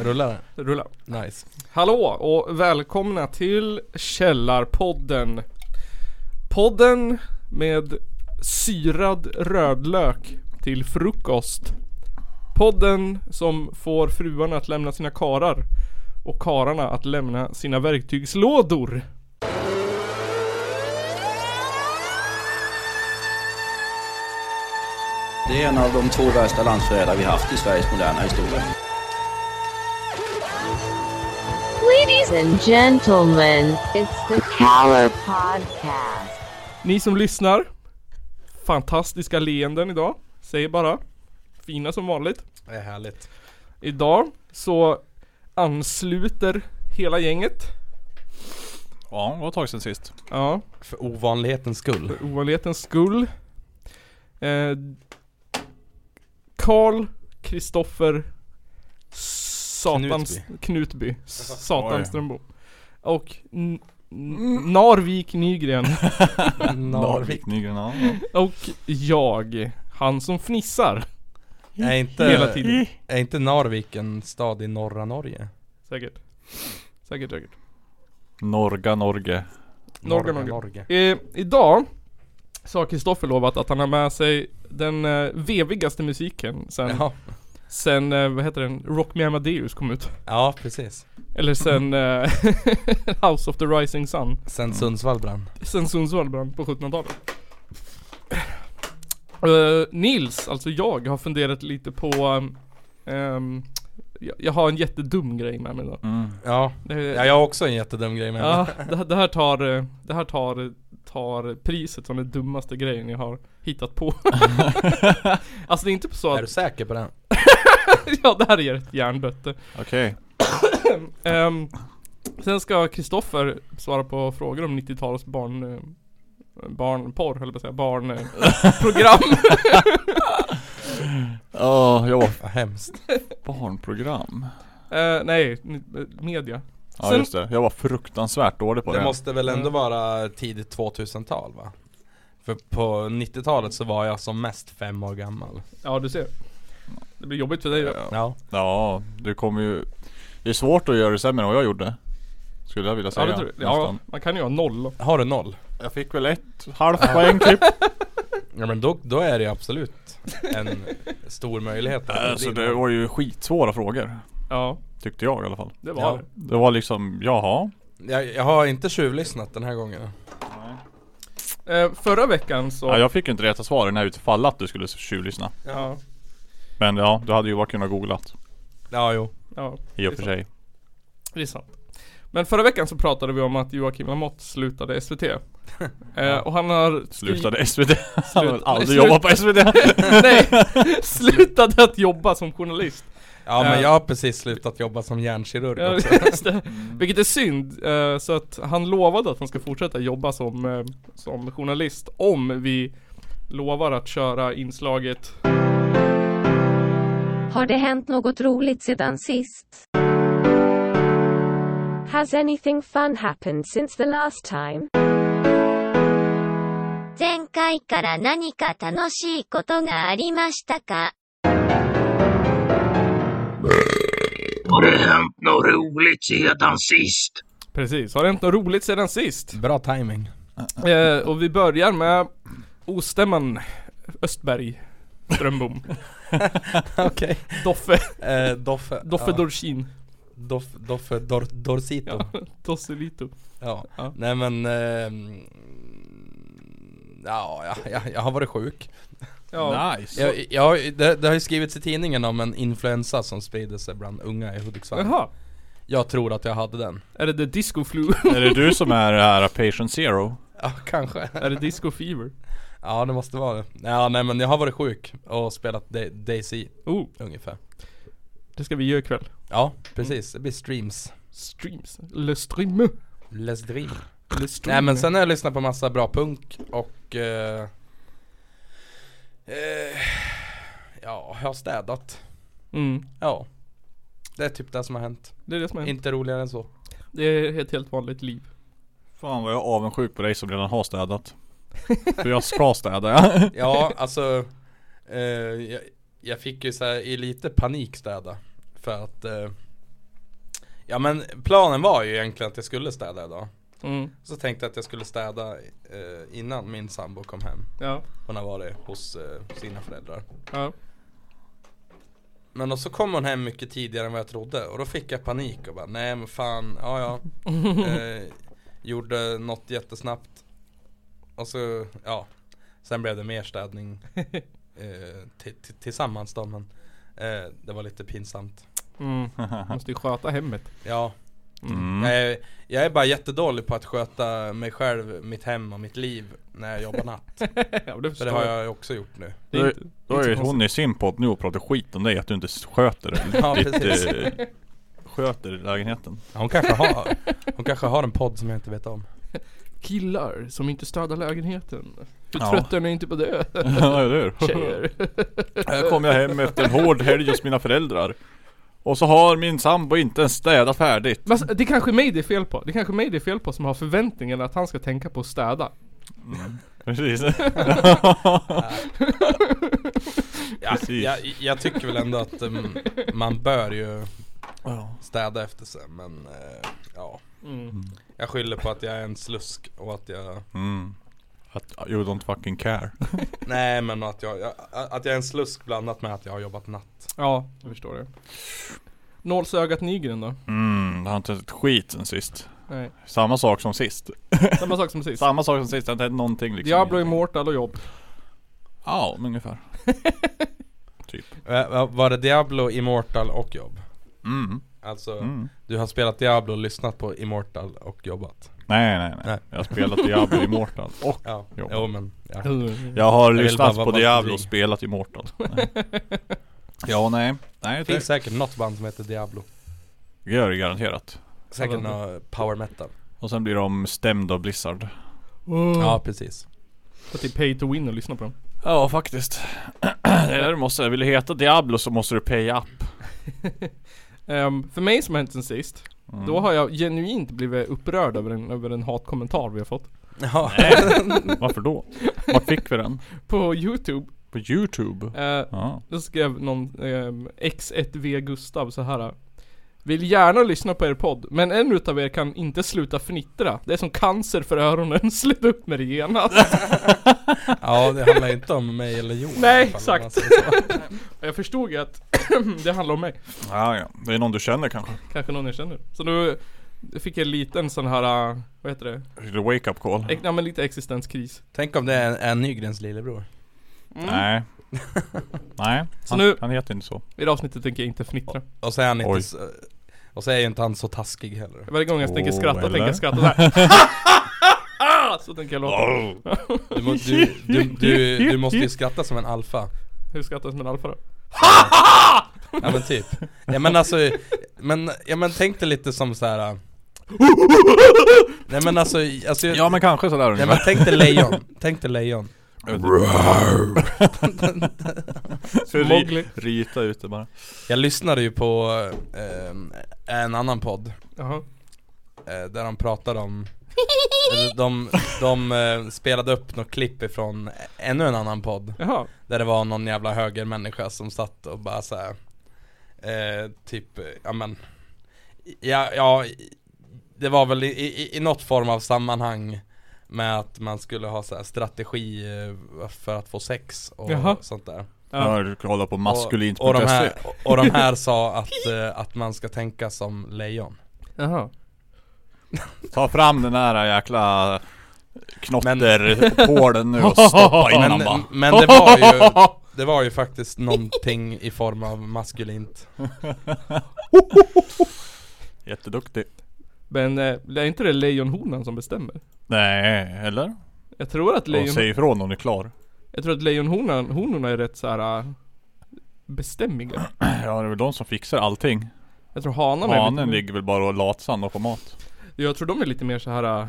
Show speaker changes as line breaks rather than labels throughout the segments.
Rullar den?
Rulla.
Nice.
Hallå och välkomna till Källarpodden. Podden med syrad rödlök till frukost. Podden som får fruarna att lämna sina karar och kararna att lämna sina verktygslådor.
Det är en av de två värsta landsförrädare vi haft i Sveriges moderna historia.
Ladies and gentlemen, it's the Caller Podcast.
Ni som lyssnar. Fantastiska leenden idag. Säger bara. Fina som vanligt.
Det är härligt.
Idag så ansluter hela gänget.
Ja, det var ett tag sedan sist.
Ja.
För ovanlighetens skull.
ovanlighetens skull. Eh, Karl Kristoffer Satans Knutby,
Oj.
Satanströmbo. Och N- N- Narvik Nygren
Narvik.
Nygren, ja.
och jag, han som fnissar
Är inte,
hela tiden.
är inte Narvik en stad i norra Norge?
Säkert. Säkert, säkert.
Norga, Norge.
Norge.
Norge, Norge.
Norge.
Eh, idag så har Kristoffer lovat att han har med sig den eh, vevigaste musiken sen,
Ja,
sen eh, vad heter den, Rock Me Amadeus kom ut.
ja precis.
Eller sen eh, House of the Rising Sun.
Sen Sundsvall brann.
Sen Sundsvall brann på 1700-talet. Eh, Nils, alltså jag, har funderat lite på ehm, ehm, jag, jag har en jättedum grej med mig då.
Mm.
Ja.
Det,
ja, jag har också en jättedum grej med mig.
ja, det, här- det här tar, eh, det här tar, tar priset som den dummaste grejen jag har hittat på. alltså det är inte så
Är du
att,
säker på den?
ja det här är ett hjärndötte.
Okej.
Ehm, sen ska Kristoffer svara på frågor om 90-talets barn... eh, Barnporr, höll jag på att säga. eh, Barnprogram.
Ja, jag var
Vad hemskt.
barnprogram.
Eh, nej, ni- eh, media.
Ja
Sen-
just det, jag var fruktansvärt dålig på det.
Det måste väl
Mm.
ändå vara tidigt 2000-tal va? För på 90-talet så var jag som mest fem år gammal.
Ja, du ser. Det blir jobbigt för dig. då.
Ja.
Ja, du kommer ju... Det är svårt att göra det sämre än vad jag gjorde. Skulle jag vilja
Ja,
säga.
det tror jag. Ja,
nästan.
man kan ju ha noll. då.
Har du noll?
Jag fick väl ett halvt poäng typ.
Ja men då, då är det absolut en stor möjlighet. att
alltså
bli
det
noll.
var ju skitsvåra frågor.
Ja,
Tyckte jag i alla fall.
det var
Ja.
det.
Det var liksom, jaha.
Jag, jag har inte tjuvlyssnat den här gången.
Eh, förra veckan så...
Ja, jag fick ju inte rätta svaren här utifall att du skulle tjuvlyssna.
ja,
Men ja, du hade ju bara kunnat googlat.
Ja jo.
ja,
I och för sig.
det är sant. Men förra veckan så pratade vi om att Joakim Lamotte slutade SVT. Eh, och han har... skri-
Slutade SVT. Han har väl
Slut-
aldrig
slut-
jobbat på SVT.
Nej! Slutade att jobba som journalist.
Ja men
Eh.
jag har precis slutat jobba som hjärnkirurg
Ja,
också.
just det. Vilket är synd, eh, så att han lovade att han ska fortsätta jobba som, eh, som journalist om vi lovar att köra inslaget
Har det hänt något roligt sedan sist? Has anything fun happened since the last time?
前回から何か楽しいことがありましたか
Har det hänt något roligt sedan sist?
Precis, har det hänt något roligt sedan sist?
Bra timing.
Eh, och vi börjar med Ostämman Östberg Strömbom
Okej.
Doffe,
Eh, Doffe.
Doffe
ja.
Dorsin
Doff, Doffe Dor, Dorsito. Ja.
Tosselito Ja.
Nej men. ehm, ja, ja, jag, jag har varit sjuk.
Ja,
Nice.
Jag, jag, har- det, det har ju skrivits i tidningen om en influensa som sprider sig bland unga i Hudiksvall.
jaha
Jag tror att jag hade den.
Är det the disco flu?
Är det du som är det här patient zero?
Ja, kanske.
är det disco fever?
Ja, det måste vara det. Ja, nej men jag har varit sjuk och spelat Da- Daisy
Oh,
ungefär.
det ska vi göra ikväll
Ja, precis. Det blir streams.
Streams, le stream
Les dreams.
Le stream
Nej men sen har jag lyssnat på massa bra punk och eh, eh, Ja, jag har städat.
mm,
Ja. Mm. Det är typ det som har hänt.
Det är det som är
Inte roligare än så.
Det är ett helt vanligt liv
Fan vad jag är avundsjuk på dig som redan har städat. För jag ska städa ja.
Ja, alltså eh, jag, jag fick ju så här, i lite panik städa. För att eh, Ja men planen var ju egentligen att jag skulle städa idag.
Mm,
Så tänkte jag att jag skulle städa eh, innan min sambo kom hem.
ja,
Hon har varit hos eh, sina föräldrar.
ja.
Men och så kom hon hem mycket tidigare än vad jag trodde och då fick jag panik och bara nej men fan, ja ja. Eh, gjorde något jättesnabbt. Och så, ja. Sen blev det mer städning. Eh, ti- ti- tillsammans då men. Eh, det var lite pinsamt.
Mm. Måste ju sköta hemmet.
Ja.
Mm.
Jag, är, jag är bara jättedålig på att sköta mig själv, mitt hem och mitt liv när jag jobbar natt.
Ja, men
För
det förstår
det har
jag.
jag ju också gjort nu.
Det är
Då, är-
inte-
då är
inte
ju
så
hon i sin podd nu och pratar skit om dig att du inte sköter det.
Ja, precis.
Ditt, eh, sköter lägenheten.
Hon kanske, har, hon kanske har en podd som jag inte vet om.
Killar som inte städar lägenheten. Hur
Ja.
tröttar ni inte på det?
ja, eller hur?
Tjejer.
Här kom jag hem efter en hård helg hos mina föräldrar. Och så har min sambo inte ens städat färdigt.
Men alltså, det är kanske mig det är fel på. Det är kanske mig det är fel på som har förväntningen att han ska tänka på att städa.
Precis.
Ja,
Precis.
jag, jag tycker väl ändå att mm, man bör ju städa efter sig men eh, ja.
Mm.
Mm. Jag skyller på att jag är en slusk och att jag
Mm. Att you don't fucking care.
Nej men att jag, jag, att jag är en slusk blandat med att jag har jobbat natt.
Ja, jag förstår det. Nålsögat Nygren då?
Mm, det har inte hänt ett skit sen sist.
Nej.
Samma sak som sist.
Samma sak som sist.
Samma sak som sist, det har inte hänt någonting liksom.
Diablo, Immortal och jobb.
Ja, men ungefär.
Eh, va- Var det Diablo, Immortal och jobb?
Mm.
Alltså
Mm.
du har spelat Diablo, lyssnat på Immortal och jobbat.
Nej, nej, nej.
Nej.
Jag har spelat Diablo Immortal. Och
Ja,
Jobbat.
jo men ja.
jag har
vill
lyssnat
bara
på
vara
Diablo
fri.
och spelat Immortal. Nej. ja, nej. Nej,
Det finns
det
säkert något band som heter Diablo.
gör det garanterat.
Säkert
Ja,
något power metal.
Och sen blir de stämda av Blizzard.
Ja
Ja.
precis.
Att det är pay to win och lyssna på dem.
Ja, faktiskt. det är det du måste. Vill du heta Diablo så måste du pay up.
Ehm, för mig som har hänt sen sist, då har jag genuint blivit upprörd över en, över en hatkommentar vi har fått.
Ja.
Varför då? Var fick vi den?
På youtube,
På Youtube?
eh,
Ja.
då skrev någon ehm, X1V Gustav så här. Vill gärna lyssna på er podd, men en utav er kan inte sluta fnittra. Det är som cancer för öronen, sluta upp med det genast.
ja det handlar ju inte om mig eller Johan.
Nej,
i alla fall, om man
exakt.
säger så.
jag förstod ju att det handlar om mig.
Ja, ja. Det är någon du känner kanske?
Kanske någon jag känner. Så nu fick jag en liten sån här, äh, vad heter det?
Fick du wake up call?
Ex- ja men lite existenskris.
Tänk om det är en, en Nygrens lillebror.
Nej. Nej.
Så
Han,
nu-
han heter inte så.
I det avsnittet tänker jag inte fnittra.
Och så är han inte
Oj.
så, eh, Och så är ju inte han så taskig heller.
Varje gång jag tänker
Åh,
skratta
eller?
tänker jag skratta såhär. så tänker jag låta.
Du, må, du, du, du, du måste ju skratta som en alfa.
Hur skrattar som en alfa då?
Ja men typ. Ja men alltså, men, ja, men tänk dig lite som så här. äh, Nej men alltså, alltså
Ja men kanske sådär
Nej men
ungefär.
tänk dig lejon, tänk dig lejon.
Så ri-
Mowgli.
Rita ut det bara.
Jag lyssnade ju på eh, en annan podd
Jaha.
eh, där de pratade om eller de, de eh, spelade upp något klipp ifrån ännu en annan podd
Jaha.
Där det var någon jävla högermänniska som satt och bara såhär eh, Typ, eh, ja men Ja, ja Det var väl i, i, i något form av sammanhang Med att man skulle ha så här strategi eh, för att få sex och
Jaha.
sånt där
Jag har kollat på maskulint
och, och, de här,
.se.
och de här sa att, eh, att man ska tänka som lejon
Jaha.
Ta fram den där jäkla knotterpålen nu och stoppa in den bara.
Men, men det var ju Det var ju faktiskt någonting i form av maskulint
Jätteduktig.
Men eh, är inte det lejonhonan som bestämmer?
Nej, eller?
Jag tror att,
Och
lejon,
säg ifrån om du är klar.
jag tror att lejonhonan honorna är rätt såhär äh, bestämmiga.
Ja, det är väl de som fixar allting.
Jag tror hanarna är
Hanen
lite,
ligger väl bara och latsand och får mat.
Jag tror de är lite mer så här. äh,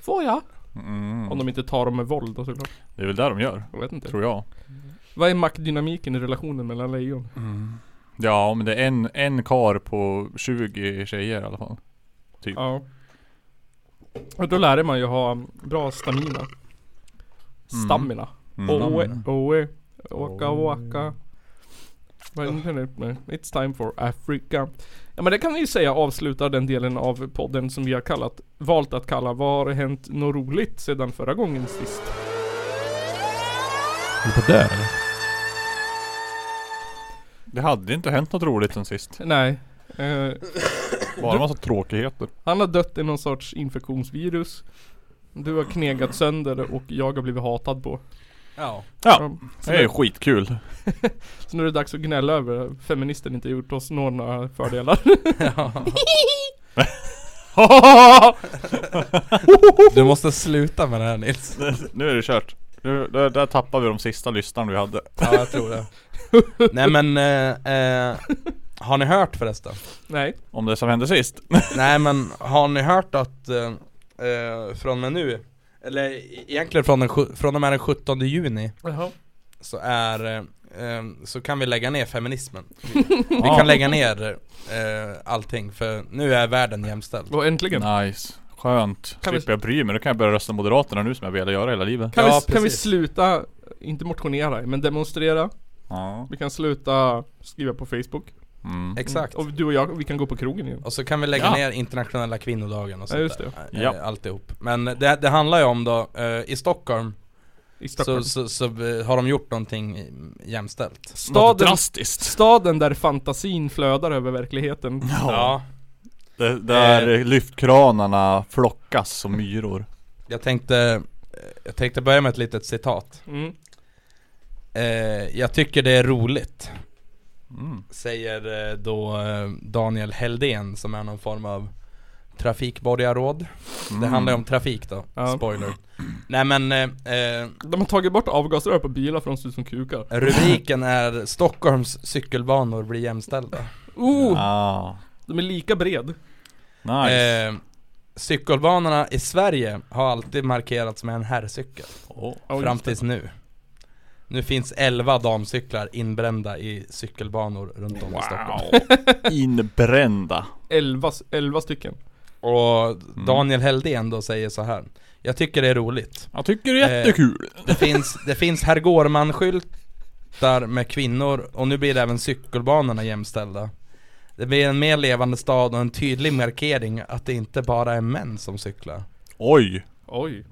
Får jag?
Mm.
Om de inte tar dem med våld och såklart.
Det är väl det de gör,
Jag vet inte.
tror jag.
Vad är maktdynamiken i relationen mellan lejon?
Ja, men det är en, en kar på 20 tjejer i alla fall.
Ja. Och då lärde man ju ha bra stamina. Stamina.
Mm.
Oe, oe, åka, åka. Men- men- It's time for Africa. Ja men det kan vi ju säga avslutar den delen av podden som vi har kallat, valt att kalla Vad har hänt något roligt sedan förra gången sist?
Håller på där eller? Det hade inte hänt något roligt sen sist.
Nej. Eh,
Bara massa tråkigheter.
han har dött i någon sorts infektionsvirus. Du har knegat sönder och jag har blivit hatad på.
Ja.
Ja, det är ju skitkul.
Så nu är det dags att gnälla över att feministen inte gjort oss några fördelar.
Du måste sluta med det här Nils.
nu är det kört. Nu, där, där tappar vi de sista lyssnarna vi hade.
Ja jag tror det. Nej men, eh, eh, har ni hört förresten?
Nej.
Om det som hände sist.
Nej men har ni hört att eh, eh, från och med nu, eller e- egentligen från, den, sju- från och med den 17 juni
Jaha.
så är eh, eh, så kan vi lägga ner feminismen. Vi, vi kan lägga ner eh, allting för nu är världen jämställd.
Och äntligen.
Nice. Skönt.
Kan vi-
Slipper jag bry mig. Då kan jag börja rösta Moderaterna nu som jag velat göra hela livet.
Kan,
Ja,
vi, kan vi
precis.
sluta, inte motionera, men demonstrera.
Ja.
Vi kan sluta skriva på Facebook.
Mm.
Exakt.
Och du och jag, vi kan gå på krogen igen.
Och så kan vi lägga
Ja.
ner internationella kvinnodagen och sånt
Ja, just
där.
det.
Eh,
Ja.
Alltihop. Men det, det handlar ju om då, eh, i Stockholm,
I Stockholm.
så, så, så eh, har de gjort någonting eh, jämställt.
Något
Staden,
drastiskt.
staden där fantasin flödar över verkligheten.
Ja,
Det, där lyftkranarna flockas som myror.
jag tänkte, eh, jag tänkte börja med ett litet citat.
Mm.
Eh, jag tycker det är roligt,
Mm.
säger eh, då eh, Daniel Heldén som är någon form av trafikborgarråd. Det
Mm.
handlar ju om trafik då,
Ja.
spoiler. Nej men eh, eh,
De har tagit bort avgasrör på bilar för de ser ut som kukar.
rubriken är Stockholms cykelbanor blir jämställda.
Oh!
Ah.
De är lika bred.
Nice.
Eh, cykelbanorna i Sverige har alltid markerats med en herrcykel,
Åh.
Ja, just
fram
det.
tills nu. Nu finns 11 damcyklar inbrända i cykelbanor runt om i Stockholm.
Inbrända.
elva, elva stycken.
Och
Mm.
Daniel Heldén då säger så här. Jag tycker det är roligt.
Jag tycker det är jättekul.
Det finns, det finns herr Gårman-skyltar med kvinnor och nu blir även cykelbanorna jämställda. Det blir en mer levande stad och en tydlig markering att det inte bara är män som cyklar.
Oj.
Oj.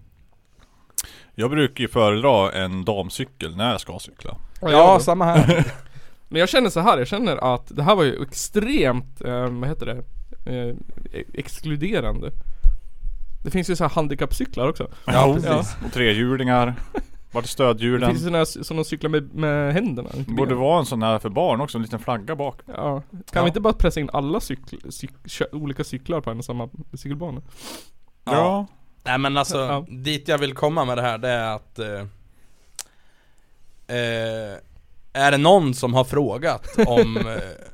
Jag brukar ju föredra en damcykel när jag ska cykla.
Ja,
Ja, samma här.
Men jag känner så här, jag känner att det här var ju extremt, eh, vad heter det? Eh, e- exkluderande. Det finns ju så här handikappcyklar också.
Ja, precis.
Och trehjulingar. Vart är
Det
stödhjulen?
finns ju sådana här som de cyklar med, med händerna. inte
Det borde
benen.
vara en sån här för barn också, en liten flagga bak.
Ja. Kan
Ja.
vi inte bara pressa in alla cykl, cyk, kö- olika cyklar på en och samma cykelbana?
Ja. Nej men alltså,
Ja.
dit jag vill komma med det här det är att eh, eh, Är det någon som har frågat om eh,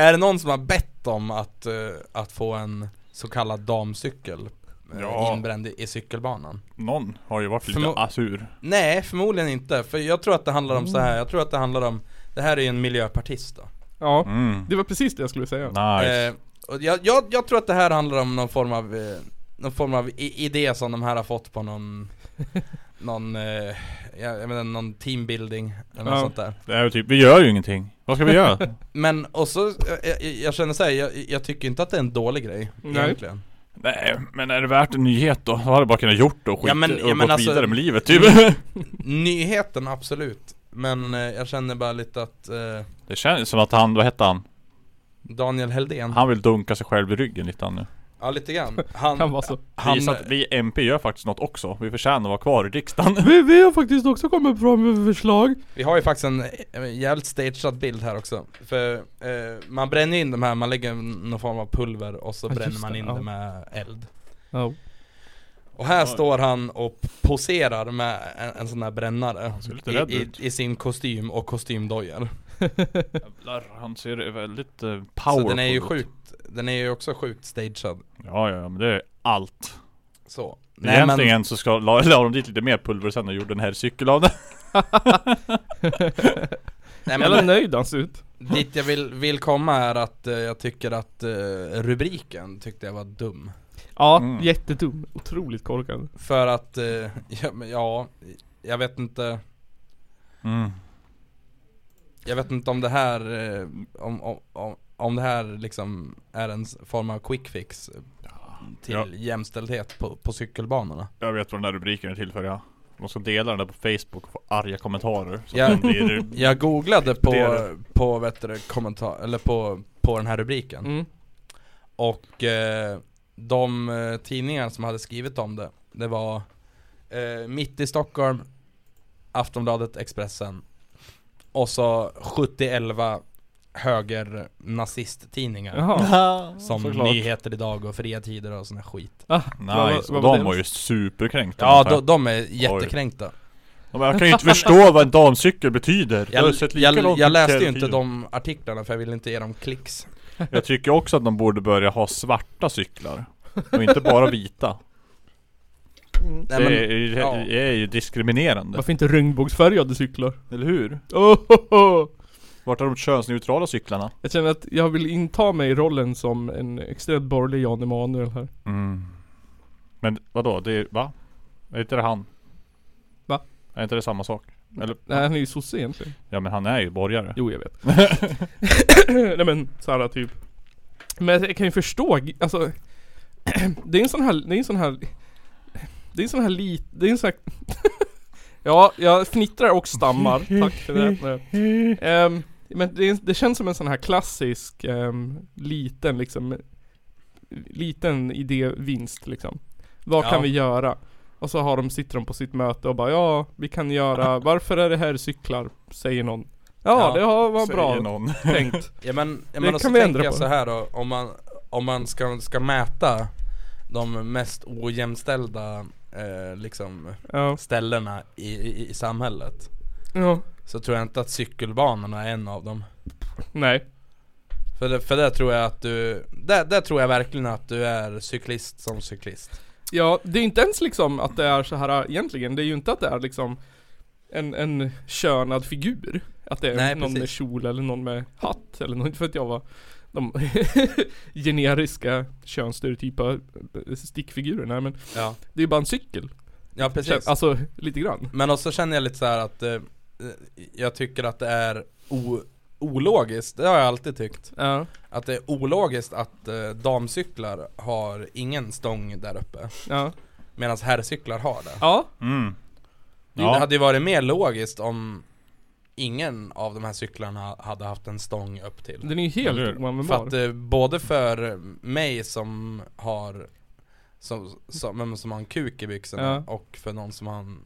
Är det någon som har bett om att, eh, att få en så kallad damcykel eh,
Ja.
inbränd i, i cykelbanan?
Någon har ju varit lite
Förmo-
asur.
Nej förmodligen inte, för jag tror att det handlar om så här. jag tror att det handlar om Det här är ju en miljöpartist då
Ja.
Mm.
Det var precis det jag skulle säga.
Nice.
Eh, och jag, jag, jag tror att det här handlar om någon form av, eh, någon form av i, idé som de här har fått på någon Någon, eh, jag, jag menar, någon teambuilding eller något
Ja.
sånt där
Det är ju typ, vi gör ju ingenting. Vad ska vi göra?
Men och så, jag- jag, jag känner såhär, jag, jag tycker inte att det är en dålig grej
Nej.
egentligen
Nej, men är det värt en nyhet då? Då hade jag bara kunnat gjort det och skit
Ja, men-
och
ja, men
gått
alltså-
vidare med livet typ.
Nyheten absolut, men eh, jag känner bara lite att eh,
Det känns som att han, vad hette han?
Daniel Heldén,
Han vill dunka sig själv i ryggen lite han nu.
ja lite grann Han,
Han var så.
han,
Visa att vi MP gör faktiskt något också. Vi förtjänar att vara kvar i riksdagen.
Vi, vi har faktiskt också kommit fram med förslag.
Vi har ju faktiskt en eh, jävligt stagead bild här också För eh, man bränner in de här, man lägger någon form av pulver och så
Ja, just
bränner man
det,
in
ja.
det med eld
Ja.
Och här står han och poserar med en, en sån här brännare
ser lite rädd
i, i,
ut.
I sin kostym och kostymdojor
Jävlar, han ser väldigt eh, powerful
Så den är ju
ut.
sjukt, den är ju också sjukt stagead
Ja, ja, ja, men det är allt.
Så
Egentligen så ska, la, la de dit lite mer pulver sen och gjorde den här cykel av det.
nej,
Jävla
men
nöjd han ser ut.
dit jag vill, vill komma är att eh, jag tycker att eh, rubriken tyckte jag var dum
Ja,
Mm.
jättedum. Otroligt korkad.
För att, eh, ja, men ja, jag vet inte
Mm.
Jag vet inte om det här, eh, om, om- om, om det här liksom är en s- form av quick fix eh, till
Ja.
jämställdhet på, på cykelbanorna.
Jag vet vad den här rubriken är till för ja. De ska dela den där på Facebook och få arga kommentarer. Så
Ja.
att den blir
Jag googlade på,
Det är det.
på vet du, det, kommentar, eller på, på den här rubriken
Mm.
Och eh, de eh, tidningar som hade skrivit om det Det var eh, Mitt i Stockholm Aftonbladet, Expressen Och så 7011 höger nazisttidningar
Jaha.
Som
såklart.
Nyheter Idag och Fria Tider och sån här skit
Ah,
Nice,
var
och de
det?
var ju superkränkta
Ja, de, de är jättekränkta
De bara, jag kan ju inte förstå vad en damcykel betyder
Jag,
har sett
jag,
likadant
jag
ut
läste ju
hela
inte
tiden.
de artiklarna för jag ville inte ge dem klicks
Jag tycker också att de borde börja ha svarta cyklar Och inte bara vita
Nej, men,
det, är, ju-
ja.
det är ju diskriminerande
Varför inte regnbågsfärgade cyklar?
Eller hur?
Ohoho!
Vart är de könsneutrala cyklarna?
Jag känner att jag vill inta mig i rollen som en extremt borgerlig Jan Emanuel här.
Mm. Men vadå? Det är, va? Är inte det han?
Va?
Är inte det samma sak? Eller?
Nej han är ju sosse egentligen.
Ja men han är ju borgare
Jo jag vet. Nej men såhär typ. Men jag kan ju förstå, alltså. det är en sån här, det är en sån här. Det är en sån här lit, det är en sån här. ja, jag fnittrar och stammar. Tack för det. Nej. Ehm, men det, är, en- det känns som en sån här klassisk ehm, liten liksom. Liten idévinst liksom. Vad
Ja.
kan vi göra? Och så har de, sitter de på sitt möte och bara ja, vi kan göra, varför är det här cyklar? Säger någon. Ja,
Ja,
det har var
Säger
bra
någon
tänkt.
Ja men, ja,
Det
men och så
kan vi
tänker
ändra
jag
på.
så här då, om man, om man ska, ska mäta de mest ojämställda eh, liksom,
Ja.
ställena i, i, i samhället
ja.
Så tror jag inte att cykelbanorna är en av dem
Nej.
För, det, för där tror jag att du, där, där tror jag verkligen att du är cyklist som cyklist
Ja, det är inte ens liksom att det är så här egentligen. Det är ju inte att det är liksom en, en könad figur. Att det är
Nej,
någon med
precis.
kjol eller någon med hatt eller något. Inte för att jag var de generiska könsstereotypa stickfigurerna. Men
Ja,
det är ju bara en cykel.
ja precis
Alltså lite grann.
Men också känner jag lite så här att eh, jag tycker att det är o, ologiskt, det har jag alltid tyckt
Ja.
Att det är ologiskt att eh, damcyklar har ingen stång där uppe
Ja.
Medan herrcyklar har det
Ja.
mm.
Det
Ja.
hade ju varit mer logiskt om ingen av de här cyklarna hade haft en stång upp till
Den är ju helt
Eller hur?
För att
oanvändbar.
eh, både för mig som har som, som, men som har en kuk i byxorna
Ja.
och för någon som har en,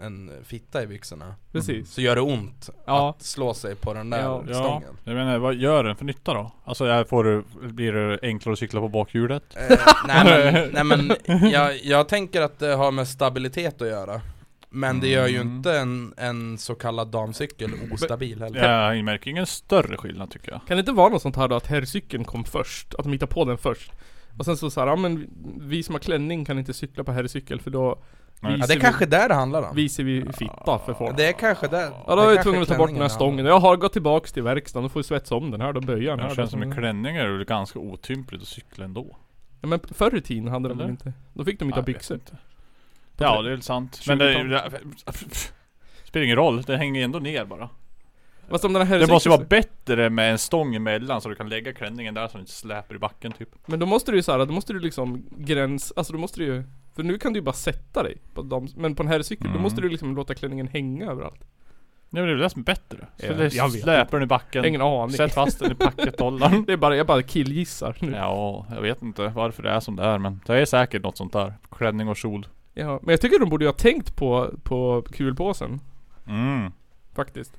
en fitta i byxorna
Mm. Precis.
Så gör det ont
Mm.
Ja.
att slå sig på den där
Ja.
Ja,
stången
jag menar vad gör den för nytta då? Alltså här får du, blir det enklare att cykla på bakhjulet?
Eh, nej men, nej, men jag, jag tänker att det har med stabilitet att göra Men det gör ju inte en, en så kallad damcykel
Mm.
ostabil heller
Ja, jag märker ingen större skillnad tycker jag
Kan det inte vara något sånt här då att herrcykeln kom först? Att de hittar på den först? Och sen så såhär, ja men vi som har klänning kan inte cykla på herrcykel för då
Nej.
Ja, det är kanske
vi,
där det handlar om
visar vi fitta för folk.
Det är kanske där
ja då
det
var vi
kanske
tvungna att ta bort den här
klänningen
stången. Jag har gått tillbaks till verkstaden, då får vi svetsa om den här, då böjer jag den
Men
här.
det
då.
känns som en klänning är det väl ganska otympligt att cykla ändå
ja, men förr i tiden hade de väl
Eller?
inte? Då fick de
Nej,
inte
jag
ha
vet
byxor.
inte. Ja det är väl sant Men det,
20-talet.
spelar ingen roll, det hänger ändå ner bara
Fast om den här
Det
herrcykeln-
måste ju vara bättre med en stång emellan så du kan lägga klänningen där så den inte släpar i backen typ
Men då måste du ju såhär, då måste du liksom gräns, alltså då måste du ju För nu kan du ju bara sätta dig på dem, men på en herrcykel då
Mm.
måste du liksom låta klänningen hänga överallt.
Nej men det är väl det som är bättre? Så
Ja,
det
jag vet
släpar den i backen,
Jag har ingen aning.
sätt fast den i packethållaren
Det är bara, jag bara killgissar nu.
Ja, jag vet inte varför det är som det är men det är säkert något sånt där Klänning och kjol
Ja, men jag tycker de borde ju ha tänkt på, på kulpåsen.
Mm,
Faktiskt.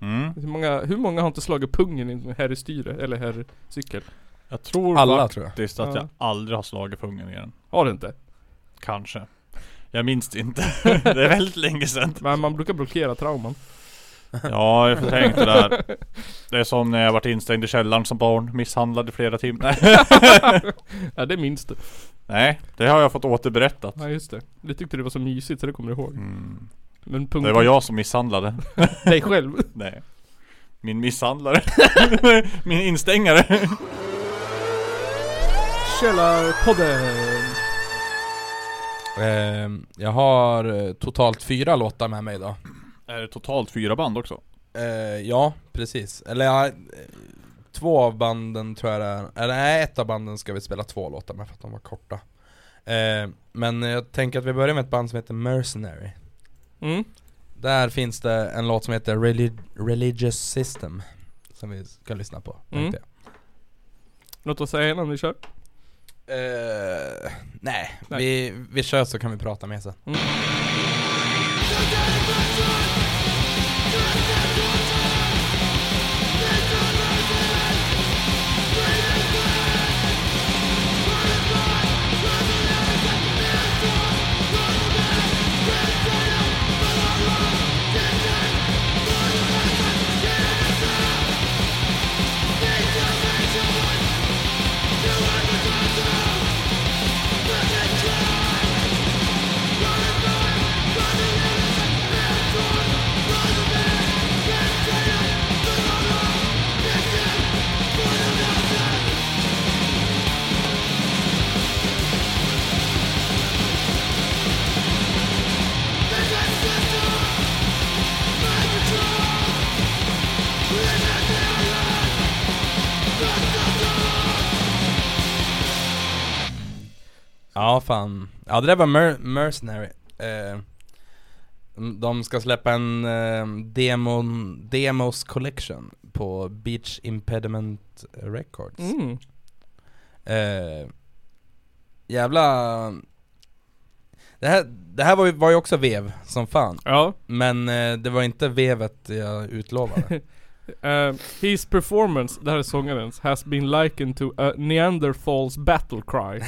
mm
Hur många, hur många har inte slagit pungen i här i styre eller här i cykel?
Jag tror
Alla, tror jag.
faktiskt att
Ja.
jag aldrig har slagit pungen i den
Har du inte?
Kanske Jag minns det inte Det är väldigt länge sedan
Men man brukar blockera trauman.
Ja, jag förträngt det där. Det är som när jag varit instängd i källaren som barn, misshandlad i flera timmar. Nej.
Ja, det minns du.
Nej, det har jag fått återberättat.
Ja, just det. Du tyckte det var så mysigt så det kommer du ihåg.
Mm.
Men pungen...
Det var jag som misshandlade.
Dig själv.
Nej. Min misshandlare. Min instängare.
Källarpodden!
Ehm, Jag har eh, totalt fyra låtar med mig idag
Är det totalt fyra band också?
Eh, ja, precis. Eller ja, eh, två av banden tror jag det är. Eller nej, ett av banden ska vi spela två låtar med för att de var korta. Eh, men jag tänker att vi börjar med ett band som heter Mercenary.
Mm.
Där finns det en låt som heter Reli- Religious System Som vi ska lyssna på
Mm.
tänkte jag.
Låt oss säga innan vi kör.
Eh, nej,
Nej.
Vi, vi kör så kan vi prata mer sen Ja fan, ja det där var Mer- Mercenary Eh, De ska släppa en eh, demon, Demos Collection på Beach Impediment Records
Mm.
Eh, Jävla det här, det här var ju, var ju också vev som fan
Ja.
Men eh, det var inte vevet jag utlovade
Eh, his performance, det här är sångarens, has been likened to a Neanderthals battle cry.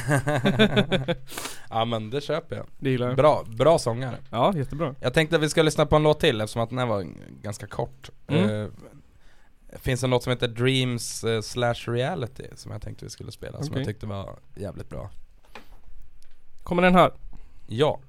Ja men det köper jag
Det gillar jag.
Bra, bra sångare
Ja, jättebra.
Jag tänkte att vi ska lyssna på en låt till eftersom att den här var g- ganska kort
Mm.
Eh, Det finns en låt som heter Dreams eh, slash reality som jag tänkte vi skulle spela som
Okej.
jag tyckte var jävligt bra
Kommer den här?
Ja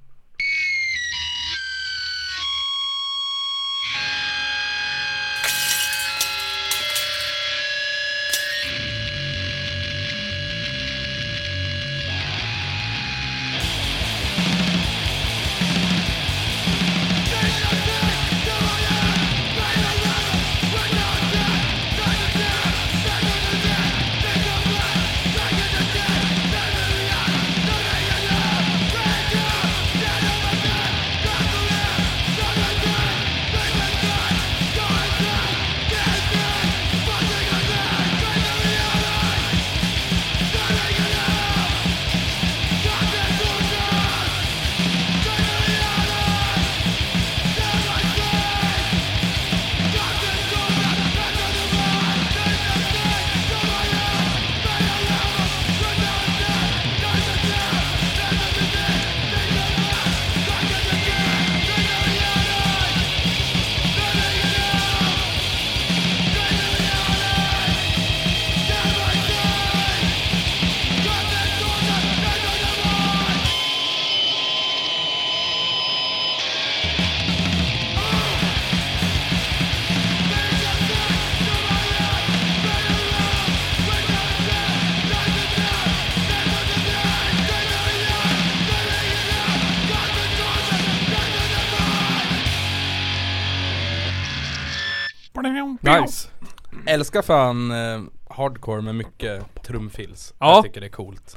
Nice.
Mm. Älskar fan eh, hardcore med mycket trumfills
Ja.
Jag tycker det är coolt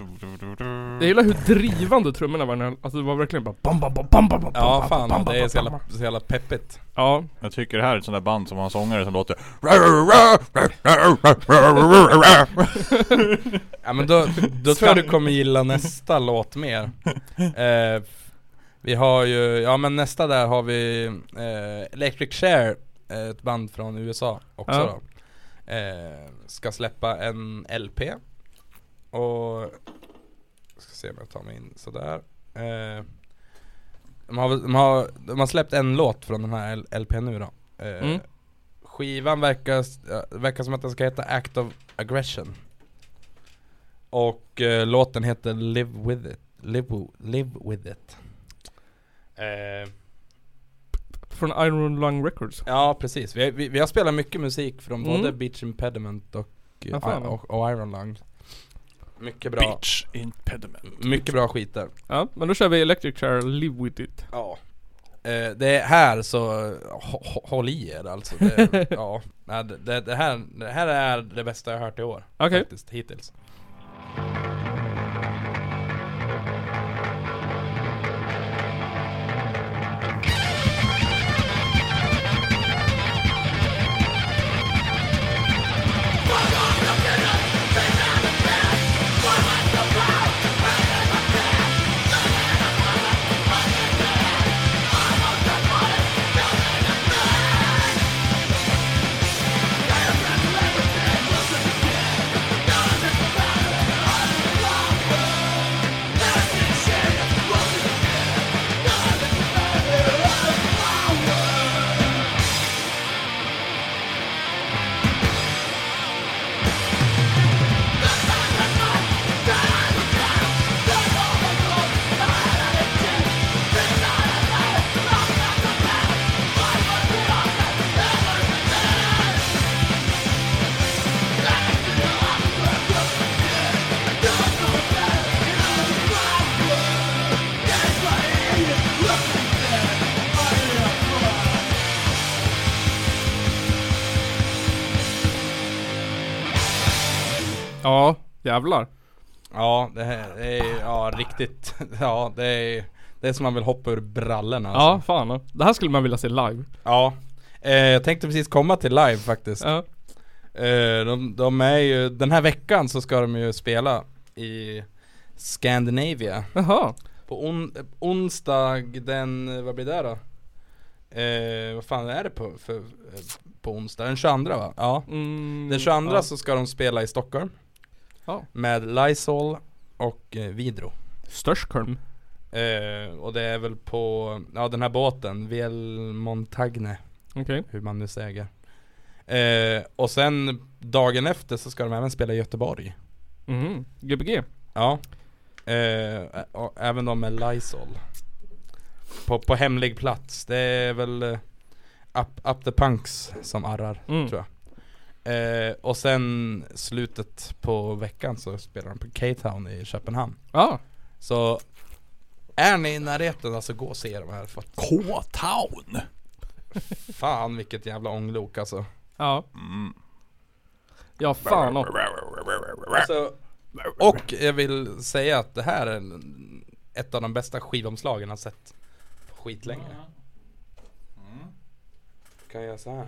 Jag gillar hur drivande trummorna var. när- Alltså det var verkligen bara bam, bam, bam, bam, bam, bam,
Ja
bam, bam,
fan,
bam,
det är
bam,
så jävla,
bam.
så jävla peppigt
Ja,
Jag tycker det här är ett sånt där band som har en sångare som låter
Ja men då, då tror jag du kommer gilla nästa låt mer eh, Vi har ju, ja men nästa där har vi eh, Electric Share eh, Ett band från USA också
Ja.
då eh, Ska släppa en LP Och Ska se om jag tar mig in sådär eh, de, har, väl- de, har, de har släppt en låt från den här L- LP nu då eh,
Mm.
Skivan verkar, s- ja, verkar som att den ska heta Act of Aggression och eh, låten heter Live With It Live, Wi- live With It eh,
från Iron Lung Records.
Ja precis, vi, vi, vi har spelat mycket musik från
Mm.
både Beach Impediment och,
Ja, fan.
och, och Iron Lung Mycket bra,
Bitch Impediment
mycket bra skit där
Ja, men då kör vi Electric Chair Live With It.
Ja Eh, det är här så eh, hå- hå- håll i er alltså. Det, ja. Nej, det- det, det, här, det här är det bästa jag har hört i år.
Okej.
Faktiskt, hittills.
Ja, jävlar.
Ja, det här det är ja, riktigt. Ja, det är, det är som man vill hoppa ur brallorna.
Ja,
Alltså.
fan. Det här skulle man vilja se live.
Ja. Eh, jag tänkte precis komma till live faktiskt.
Ja.
Eh, de, de är ju, den här veckan så ska de ju spela i Scandinavia.
Jaha.
På on, eh, onsdag den, vad blir det då? Eh, vad fan är det på, för, eh, på onsdag? Den 22 va? Ja.
Mm,
Den 22
ja.
så ska de spela i Stockholm.
Ja.
Med Lysol och eh, Vidro.
Störskölm.
Eh, och det är väl på, ja den här båten, VL Montagne,
Okej.
hur man nu säger. Eh, och sen dagen efter så ska de även spela i Göteborg.
Mhm. Gbg.
Ja. Eh, ä- och även de med Lysol. På, på hemlig plats. Det är väl eh, up, up the Punks som arrar,
Mm.
tror jag. Eh, och sen slutet på veckan så spelar de på K-Town i Köpenhamn.
Ja.
Så är ni i närheten alltså gå och se de här för
K-town!
fan vilket jävla ånglok alltså.
Ja.
Mm.
Ja, fan också.
alltså och jag vill säga att det här är en- ett av de bästa skivomslagen jag har sett på skitlänge. Mm. Kan jag göra så här?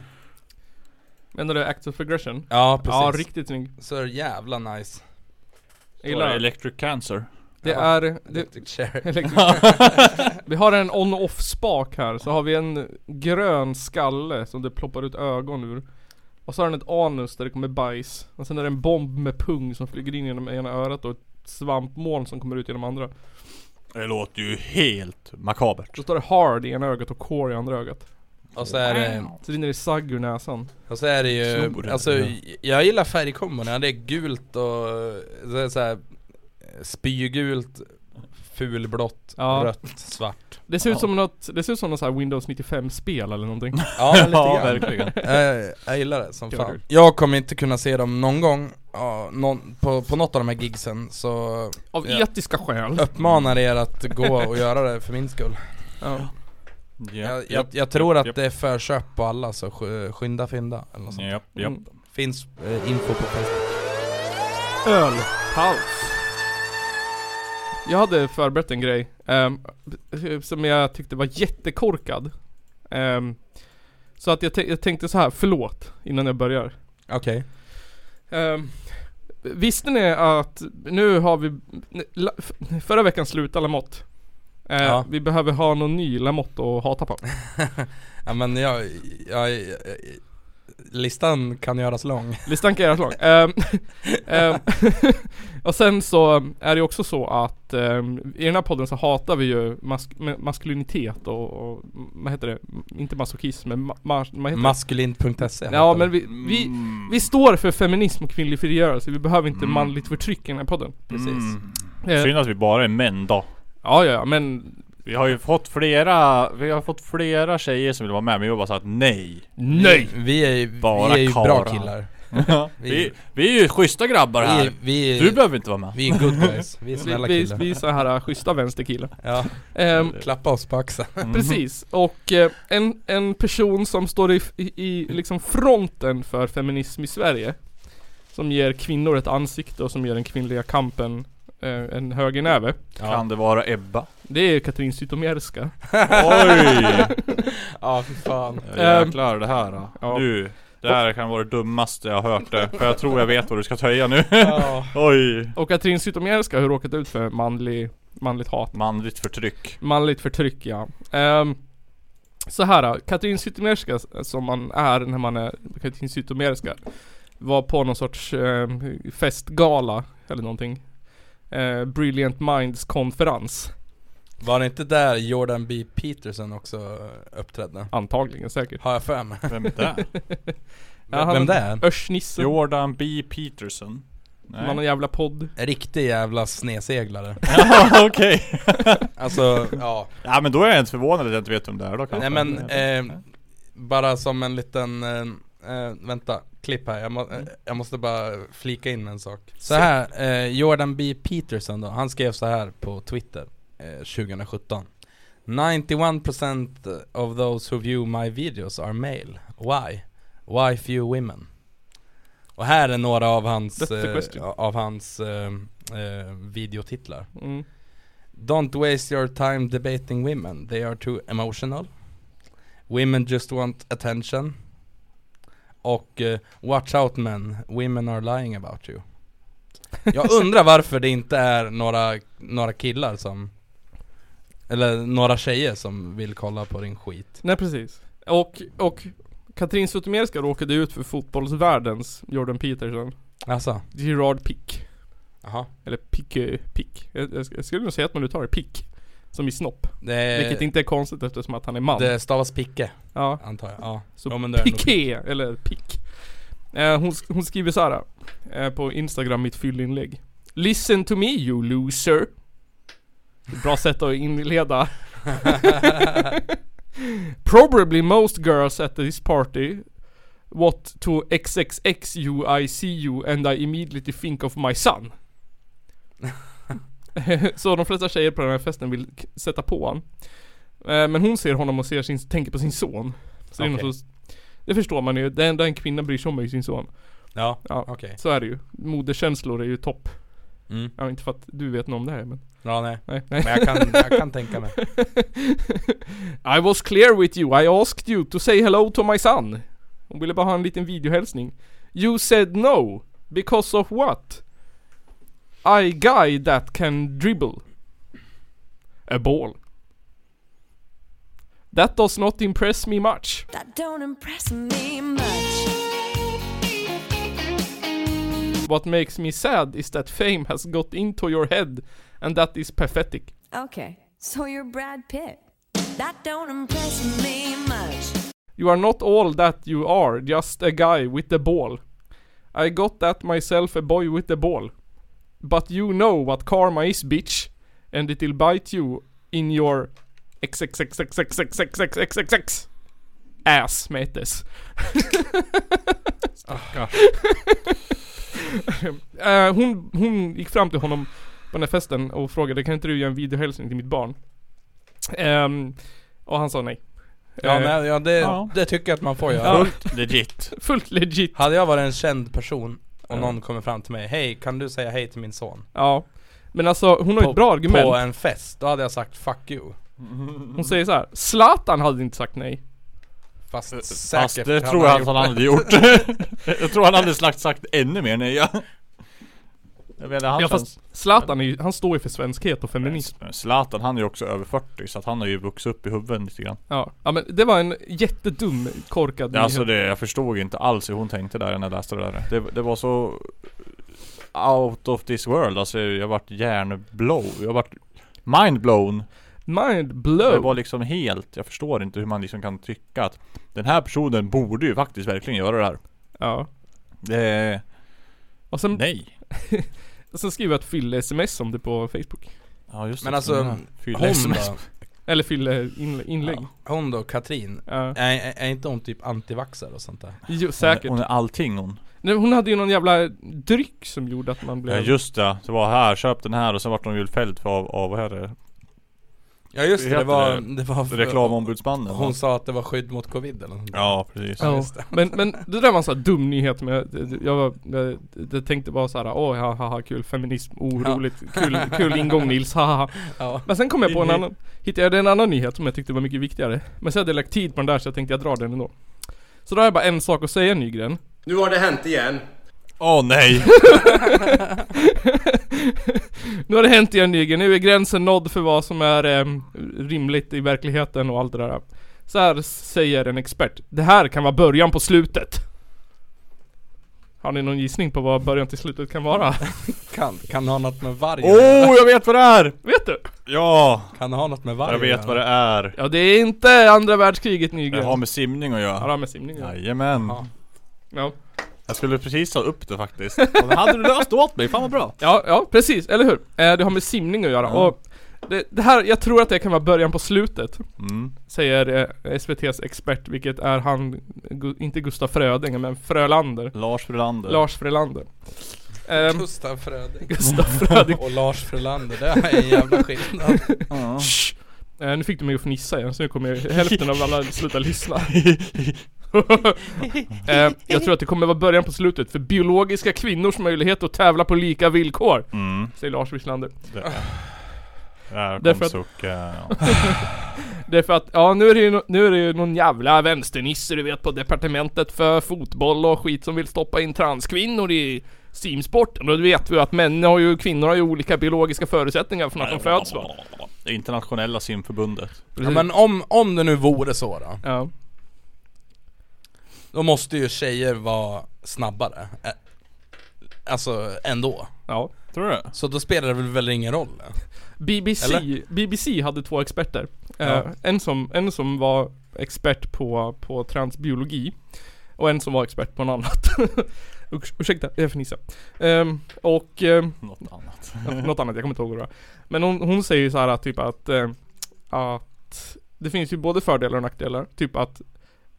Menar du Active Progression?
Ja precis.
Ja, riktigt snygg.
så jävla nice.
Jag gillar den.
Electric Cancer.
Det
Ja.
är... Det,
Electric chair.
Elektrisk- vi har en on-off spak här, så har vi en grön skalle som det ploppar ut ögon ur. Och så har den ett anus där det kommer bajs. Och sen är det en bomb med pung som flyger in genom ena örat och ett svampmoln som kommer ut genom andra.
Det låter ju helt makabert.
Så står det hard i ena ögat och core i andra ögat.
Och så är det,
Så rinner det sagg ur näsan.
och så är det ju,
Snor.
alltså jag gillar färgkombona. Det är gult och så är det så här, spygult, fulblått,
Ja.
rött, svart.
Det ser ut som något, det ser ut som något så här Windows 95 spel eller någonting.
Ja, lite
Ja,
grann.
verkligen.
jag, jag gillar det som
Gör
fan
du?
Jag kommer inte kunna se dem någon gång ja, någon, på, på något av de här gigsen Så
Av
Ja.
etiska skäl.
uppmanar er att gå och göra det för min skull
Ja.
Jag, jag, jag tror att
japp.
det är förköp på alla så sk- skynda fynda eller något sånt.
Japp, japp.
Mm.
Finns eh, info på Facebook
Ölpaus. Jag hade förberett en grej ehm, som jag tyckte var jättekorkad. Ehm, så att jag, tän- jag tänkte så här, förlåt innan jag börjar.
Okej
Ehm, visste ni att nu har vi, la- f- förra veckan slutade Lamotte. Ehm,
Ja.
Vi behöver ha någon ny Lamotte att hata på.
Ja men jag, jag, jag, listan kan göras lång
Listan kan göras lång. Ehm, ehm, och sen så är det också så att ehm, i den här podden så hatar vi ju mask ma- maskulinitet och, och m- vad heter det? M- Inte masochism men ma ma vad heter
Maskulint.se
det? Ja men vi, vi, vi står för feminism och kvinnlig frigörelse. Vi behöver inte
Mm.
manligt förtryck i den här podden.
Precis
Mm.
Eh,
Synd att vi bara är män då.
ja, ja, ja, men
Vi har ju fått flera, vi har fått flera tjejer som vill vara med men vi har bara sagt nej.
nej!
Vi är ju,
Bara
vi är ju bra
karlar.
killar
Ja, vi, vi är ju schyssta grabbar
Vi,
här.
vi,
Du behöver inte vara med.
vi är good guys, vi är snälla
Vi, vi,
killar
vi är så här äh, schyssta vänsterkillar.
Ja,
Ehm,
klappa oss på axeln
Precis, och eh, en, en person som står i, i, i liksom fronten för feminism i Sverige Som ger kvinnor ett ansikte och som ger den kvinnliga kampen eh, en högernäve
Kan det vara Ebba?
Det är Katrin Zytomierska
Oj!
Ja, fy fan
Jäklar det här då.
ja.
Du, det här kan vara det dummaste jag har hört det. För jag tror jag vet vad du ska töja nu.
Ja.
Oj!
Och Katrin Zytomierska har råkat ut för manlig, manligt hat
Manligt förtryck.
Manligt förtryck ja. Um, så här då, Katrin Zytomierska eh, som man är när man är Katrin Zytomierska var på någon sorts ehm, festgala eller någonting. Eh, Brilliant Minds konferens.
Var det inte där Jordan B. Peterson också uppträdde?
Antagligen säkert.
Har jag för mig
Vem är det?
Ja, han-
Vem det är?
Örsnissen.
Jordan B. Peterson? Nej.
Man har en jävla podd.
Riktig jävla sneseglare
Ja, okej.
Alltså, ja
Ja men då är jag inte förvånad att jag inte vet vem det är då kanske.
Nej men, eh, bara som en liten, eh, eh, vänta, klipp här. Jag, må, eh, jag måste bara flika in en sak. Så här, eh, Jordan B. Peterson då, han skrev så här på Twitter eh, 2017. 91% of those who view my videos are male. Why? Why few women? Och här är några av hans,
That's the
eh,
question.
av hans eh, eh, videotitlar.
Mm.
Don't waste your time debating women. They are too emotional. Women just want attention. Och eh, watch out men, women are lying about you. Jag undrar varför det inte är några, några killar som eller några tjejer som vill kolla på din skit.
Nej precis. Och, och Katrin Zytomierska råkade ut för fotbollsvärldens Jordan Peterson.
Alltså,
Gerard Pick.
jaha.
Eller Pick, eh, Pick. Jag, jag, jag skulle nog säga att man uttalar Pick. Som i snopp.
Det,
Vilket inte är konstigt eftersom att han är man.
Eh, det stavas picke,
ja.
antar jag. Ja.
Så
ja, men det är nog-
piké, eller pick. Eh, hon, sk- hon skriver så här eh, på Instagram, mitt fyllinlägg. Listen to me you loser. Bra sätt att inleda. Probably most girls at this party What to XXX you I see you and I immediately think of my son. så de flesta tjejer på den här festen vill k- sätta på han. Eh, Men hon ser honom och ser sin, tänker på sin son. Så det, är
Okej.
något så, det förstår man ju. Det enda en kvinna bryr sig om är ju sin son.
Ja,
Ja,
okej.
så är det ju. Moderkänslor är ju topp.
Mm.
Ja, inte för att du vet något om det här men.
Ja, nej.
Nej, nej.
Men jag kan, jag kan tänka mig.
I was clear with you, I asked you to say hello to my son. Hon ville bara ha en liten videohälsning. You said no, because of what? I guy that can dribble. A ball. That does not impress me much.
That don't impress me much.
What makes me sad is that fame has got into your head and that is pathetic.
Okay, so you're Brad Pitt. That don't impress me much.
You are not all that you are, just a guy with a ball. I got that myself a boy with a ball. But you know what karma is, bitch. And it'll bite you in your XXXXXXXXXXXX ass med ett S. Eh, hon, hon gick fram till honom på den här festen och frågade kan inte du göra en videohälsning till mitt barn? Ehm, och han sa nej.
Ja,
Eh,
nej, ja, det,
Ja.
det tycker jag att man får göra.
Fullt legit.
Fullt legit.
Hade jag varit en känd person och
Ja.
någon kommer fram till mig, hej kan du säga hej till min son?
Ja. Men alltså hon har ju ett bra argument.
På en fest, då hade jag sagt fuck you.
Hon säger så här. Zlatan hade inte sagt nej.
Eh, Fast säkert
Fast det
hade
tror jag att han
gjort
hade gjort. jag tror han hade slagt sagt ännu mer nej. ja. Jag menar han
Ja
känns...
fast Zlatan är ju, han står ju för svenskhet och feminism.
Men Zlatan han är ju också över 40 så att han har ju vuxit upp i huvudet lite grann.
Ja. ja men det var en jättedum korkad
Ja, alltså
nyhet.
det, jag förstod ju inte alls hur hon tänkte där när jag läste det där. Det, det var så out of this world. Alltså jag vart hjärnblow. Jag vart mindblown.
Mind
Det
blow.
var liksom helt, jag förstår inte hur man liksom kan tycka att den här personen borde ju faktiskt verkligen göra det här.
Ja.
Det,
Och sen,
nej.
sen skriver jag ett fylle-sms om det på Facebook.
Ja just
Men
det.
alltså,
Mm. Fyll
Hon
SMS.
då,
Eller fylle-inlägg.
hon då Katrin,
Ja.
är, är är inte hon typ antivaxxare och sånt där?
Jo,
Hon är-
säkert.
Hon är allting hon.
Nej, Hon hade ju någon jävla dryck som gjorde att man blev...
Ja just det, det var här, köp den här och sen vart de julfälld för av, av vad heter det?
Ja just det,
Heter
det var,
det
det var
Reklamombudsmannen va?
Hon sa att det var skydd mot covid eller något.
Ja precis
Ja,
just det.
men, men det där var en sån här dum nyhet men jag, jag, var, jag, jag tänkte bara såhär åh ha, ha, ha kul feminism, oroligt, kul, kul ingång Nils, ha, ha, ha.
Ja.
Men sen kom jag på en annan, hittade jag en annan nyhet som jag tyckte var mycket viktigare Men sen hade jag lagt tid på den där så jag tänkte jag drar den ändå Så då har jag bara en sak att säga Nygren
Nu har det hänt igen.
Åh nej!
Nu har det hänt igen Nygren, nu är gränsen nådd för vad som är em, rimligt i verkligheten och allt det där Så här säger en expert, det här kan vara början på slutet Har ni någon gissning på vad början till slutet kan vara?
Kan, kan ha något med varg
Åh oh, jag vet vad det är!
Vet du?
Ja!
Kan ha något med varg
Jag vet vad det är
Ja det är inte andra världskriget
Det
Nygren
har med simning att
Ja, det
göra
har med simning att göra.
Jajamän
Ja.
ja.
Jag skulle precis ta upp det faktiskt Men Hade du löst det åt mig, fan vad bra!
ja, ja precis, eller hur? Eh, det har med simning att göra
Ja.
och det, det här, jag tror att det kan vara början på slutet
Mm.
Säger eh, SVT's expert, vilket är han, Gu, inte Gustaf Frödinge men Frölander
Lars Frölander
Lars Frölander Ehm,
Gustav Fröding
Gustaf Frödinge
och Lars Frölander, det är en jävla skillnad
Ja.
eh, Nu fick du mig att fnissa igen så nu kommer jag- hälften av alla sluta lyssna eh, Jag tror att det kommer vara början på slutet för biologiska kvinnors möjlighet att tävla på lika villkor
Mm.
Säger Lars Wislander
Det. Där
Därför
kom
att-
sucken
Därför att, ja nu är det ju, no- nu är det ju någon jävla vänsternisse du vet på departementet för fotboll och skit som vill stoppa in transkvinnor i simsporten. Och då vet vi ju att män har ju, kvinnor har ju olika biologiska förutsättningar från att de föds va?
Det Internationella simförbundet
ja, Men om, om det nu vore så då
Ja.
Då måste ju tjejer vara snabbare Eh, Alltså ändå
Ja.
Tror du det?
Så då spelar det väl, väl ingen roll?
BBC,
Eller?
BBC hade två experter. Eh,
Ja.
en, som, en som var expert på, på transbiologi och en som var expert på något annat. Urs- Ursäkta, jag fnissade. Ehm, och ehm,
Något annat
Något annat, jag kommer inte ihåg vad det var. Men hon, hon säger ju så här att typ att, eh, att det finns ju både fördelar och nackdelar. Typ att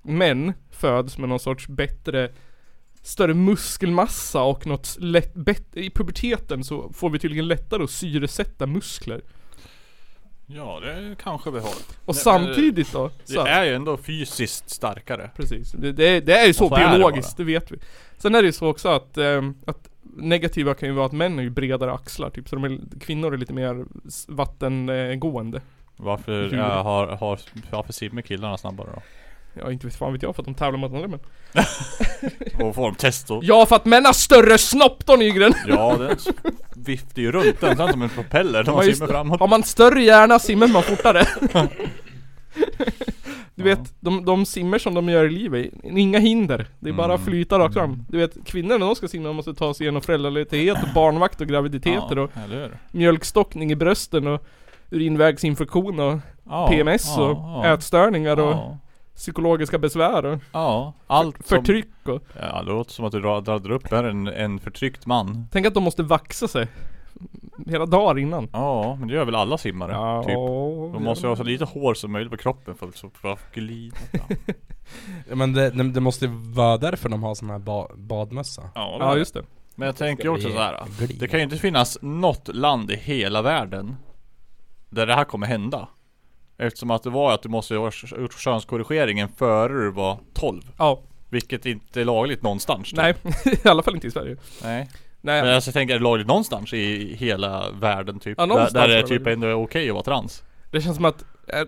män föds med någon sorts bättre större muskelmassa och något lätt, bett, i puberteten så får vi tydligen lättare att syresätta muskler.
Ja det kanske vi har
Och
Nej, men det-
samtidigt då, så
Det
här,
är ju ändå fysiskt starkare
precis. Det, det, är- det är ju så
Och så är det
biologiskt, det,
bara.
vet vi. Sen är det ju så också att, eh, att negativa kan ju vara att män är ju bredare axlar typ, så de är, kvinnor är lite mer s- vattengående.
Varför
Djur.
är, har, har, varför simmar killarna snabbare då?
Ja inte vet fan vet jag för att de tävlar mot andra män
Och får de testo?
Ja för att män har större snopp då Nygren!
Ja den s- viftar ju runt den sen som en propeller när
Ja,
man
just
simmar
det.
framåt
Har man större hjärna simmar man fortare Du vet, de, de simmer som de gör i livet, inga hinder Det är
Mm.
bara att flyta rakt fram Du vet, kvinnor när de ska simma måste ta sig igenom föräldraledighet, och barnvakt och graviditeter och
Ja, eller hur?
mjölkstockning i brösten och urinvägsinfektion och
Ja,
PMS
ja,
och
ja,
ätstörningar och
ja,
psykologiska besvär och
ja, allt som,
förtryck och
Ja det låter som att du dra- drar upp här en, en förtryckt man
Tänk att de måste vaxa sig Hela dagar innan
Ja, men det gör väl alla simmare?
Ja,
typ.
åh,
De måste ju ha så lite hår som möjligt på kroppen för att så- för att glida fram.
Ja, Men det, det, det måste ju vara därför de har sån här ba, badmössa
Ja,
Ja just det.
Men jag tänker ju också
bli
så här.
glid.
Det kan ju inte finnas något land i hela världen där det här kommer hända. Eftersom att det var att du måste ha gjort könskorrigeringen före du var 12.
Ja,
Vilket inte är lagligt någonstans. typ.
nej. I alla fall inte i Sverige.
Nej. Men
Nej.
alltså, jag tänker, är det lagligt någonstans i hela världen typ?
Ja,
där,
någonstans
där det
är
är
det
typ
väl.
ändå okej att vara trans.
Det känns som att eh,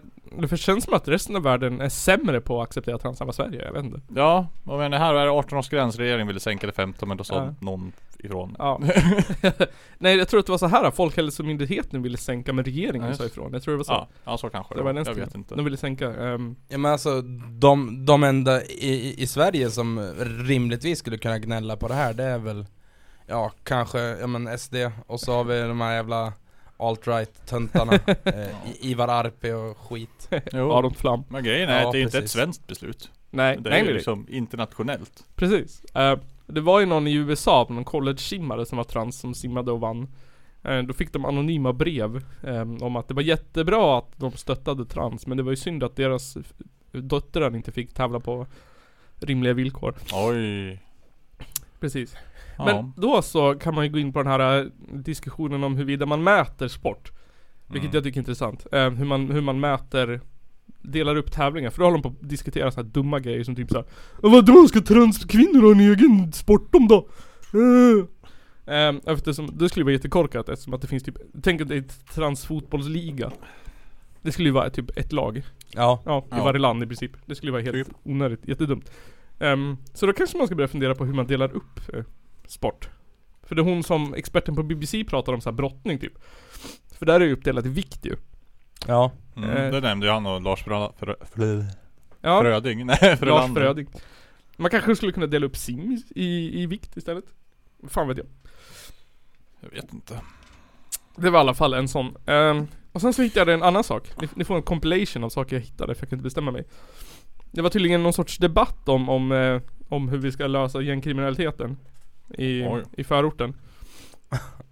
det känns som att resten av världen är sämre på att acceptera trans än vad Sverige är, jag vet inte.
Ja, och men det här är 18-årsgräns. Regeringen ville sänka till 15 men då sa
Ja.
någon ifrån.
Ja. Nej jag tror att det var så här att Folkhälsomyndigheten ville sänka men regeringen
Ja, just.
sa ifrån. Jag tror det var så.
Ja, ja så kanske
Det var den
Jag
stilen.
vet inte.
De ville sänka. ehm,
Ja men alltså de, de enda i, i- i Sverige som rimligtvis skulle kunna gnälla på det här det är väl Ja kanske, ja men SD och så har vi de här jävla alt-right töntarna eh, I- Ivar Arpi och skit
Jo.
Aron Flam.
Men grejen är
Ja,
att det är inte ett
precis.
svenskt beslut.
Nej,
Det är
nej
ju
men
liksom internationellt.
Precis. Eh, det var ju någon i USA, någon college-simmare som var trans som simmade och vann. Eh, då fick de anonyma brev eh, om att det var jättebra att de stöttade trans, men det var ju synd att deras eh, f- döttrar inte fick tävla på rimliga villkor.
Oj.
precis.
Ja.
Men då så kan man ju gå in på den här eh, diskussionen om huruvida man mäter sport. Vilket jag tycker är intressant. Eh, hur, man, hur man mäter Delar upp tävlingar, för då håller de på att diskutera så här dumma grejer som typ såhär Vadå ska transkvinnor ha en egen sport om då? Eh. Eh, eftersom, det skulle vara jättekorkat eftersom att det finns typ Tänk att det är ett transfotbollsliga Det skulle ju vara typ ett lag
Ja,
Ja, i
Ja.
varje land i princip. Det skulle vara helt
Typ.
onödigt, jättedumt. Ehm, så då kanske man ska börja fundera på hur man delar upp eh, sport. För det är hon som, experten på BBC pratar om så här brottning typ. För där är det ju uppdelat i vikt ju.
ja.
Mm,
Eh.
Det nämnde ju han och Lars Frö, Frö, Frö,
Ja,
Fröding. Nej,
Lars
Frölander.
Fröding. Man kanske skulle kunna dela upp sim i- i, i vikt istället. Fan vet jag.
Jag vet inte.
Det var i alla fall en sån. Ehm, och sen så hittade jag en annan sak. Ni, ni får en compilation av saker jag hittade för jag kunde inte bestämma mig. Det var tydligen någon sorts debatt om, om, eh, om hur vi ska lösa gängkriminaliteten i,
Oj.
i förorten.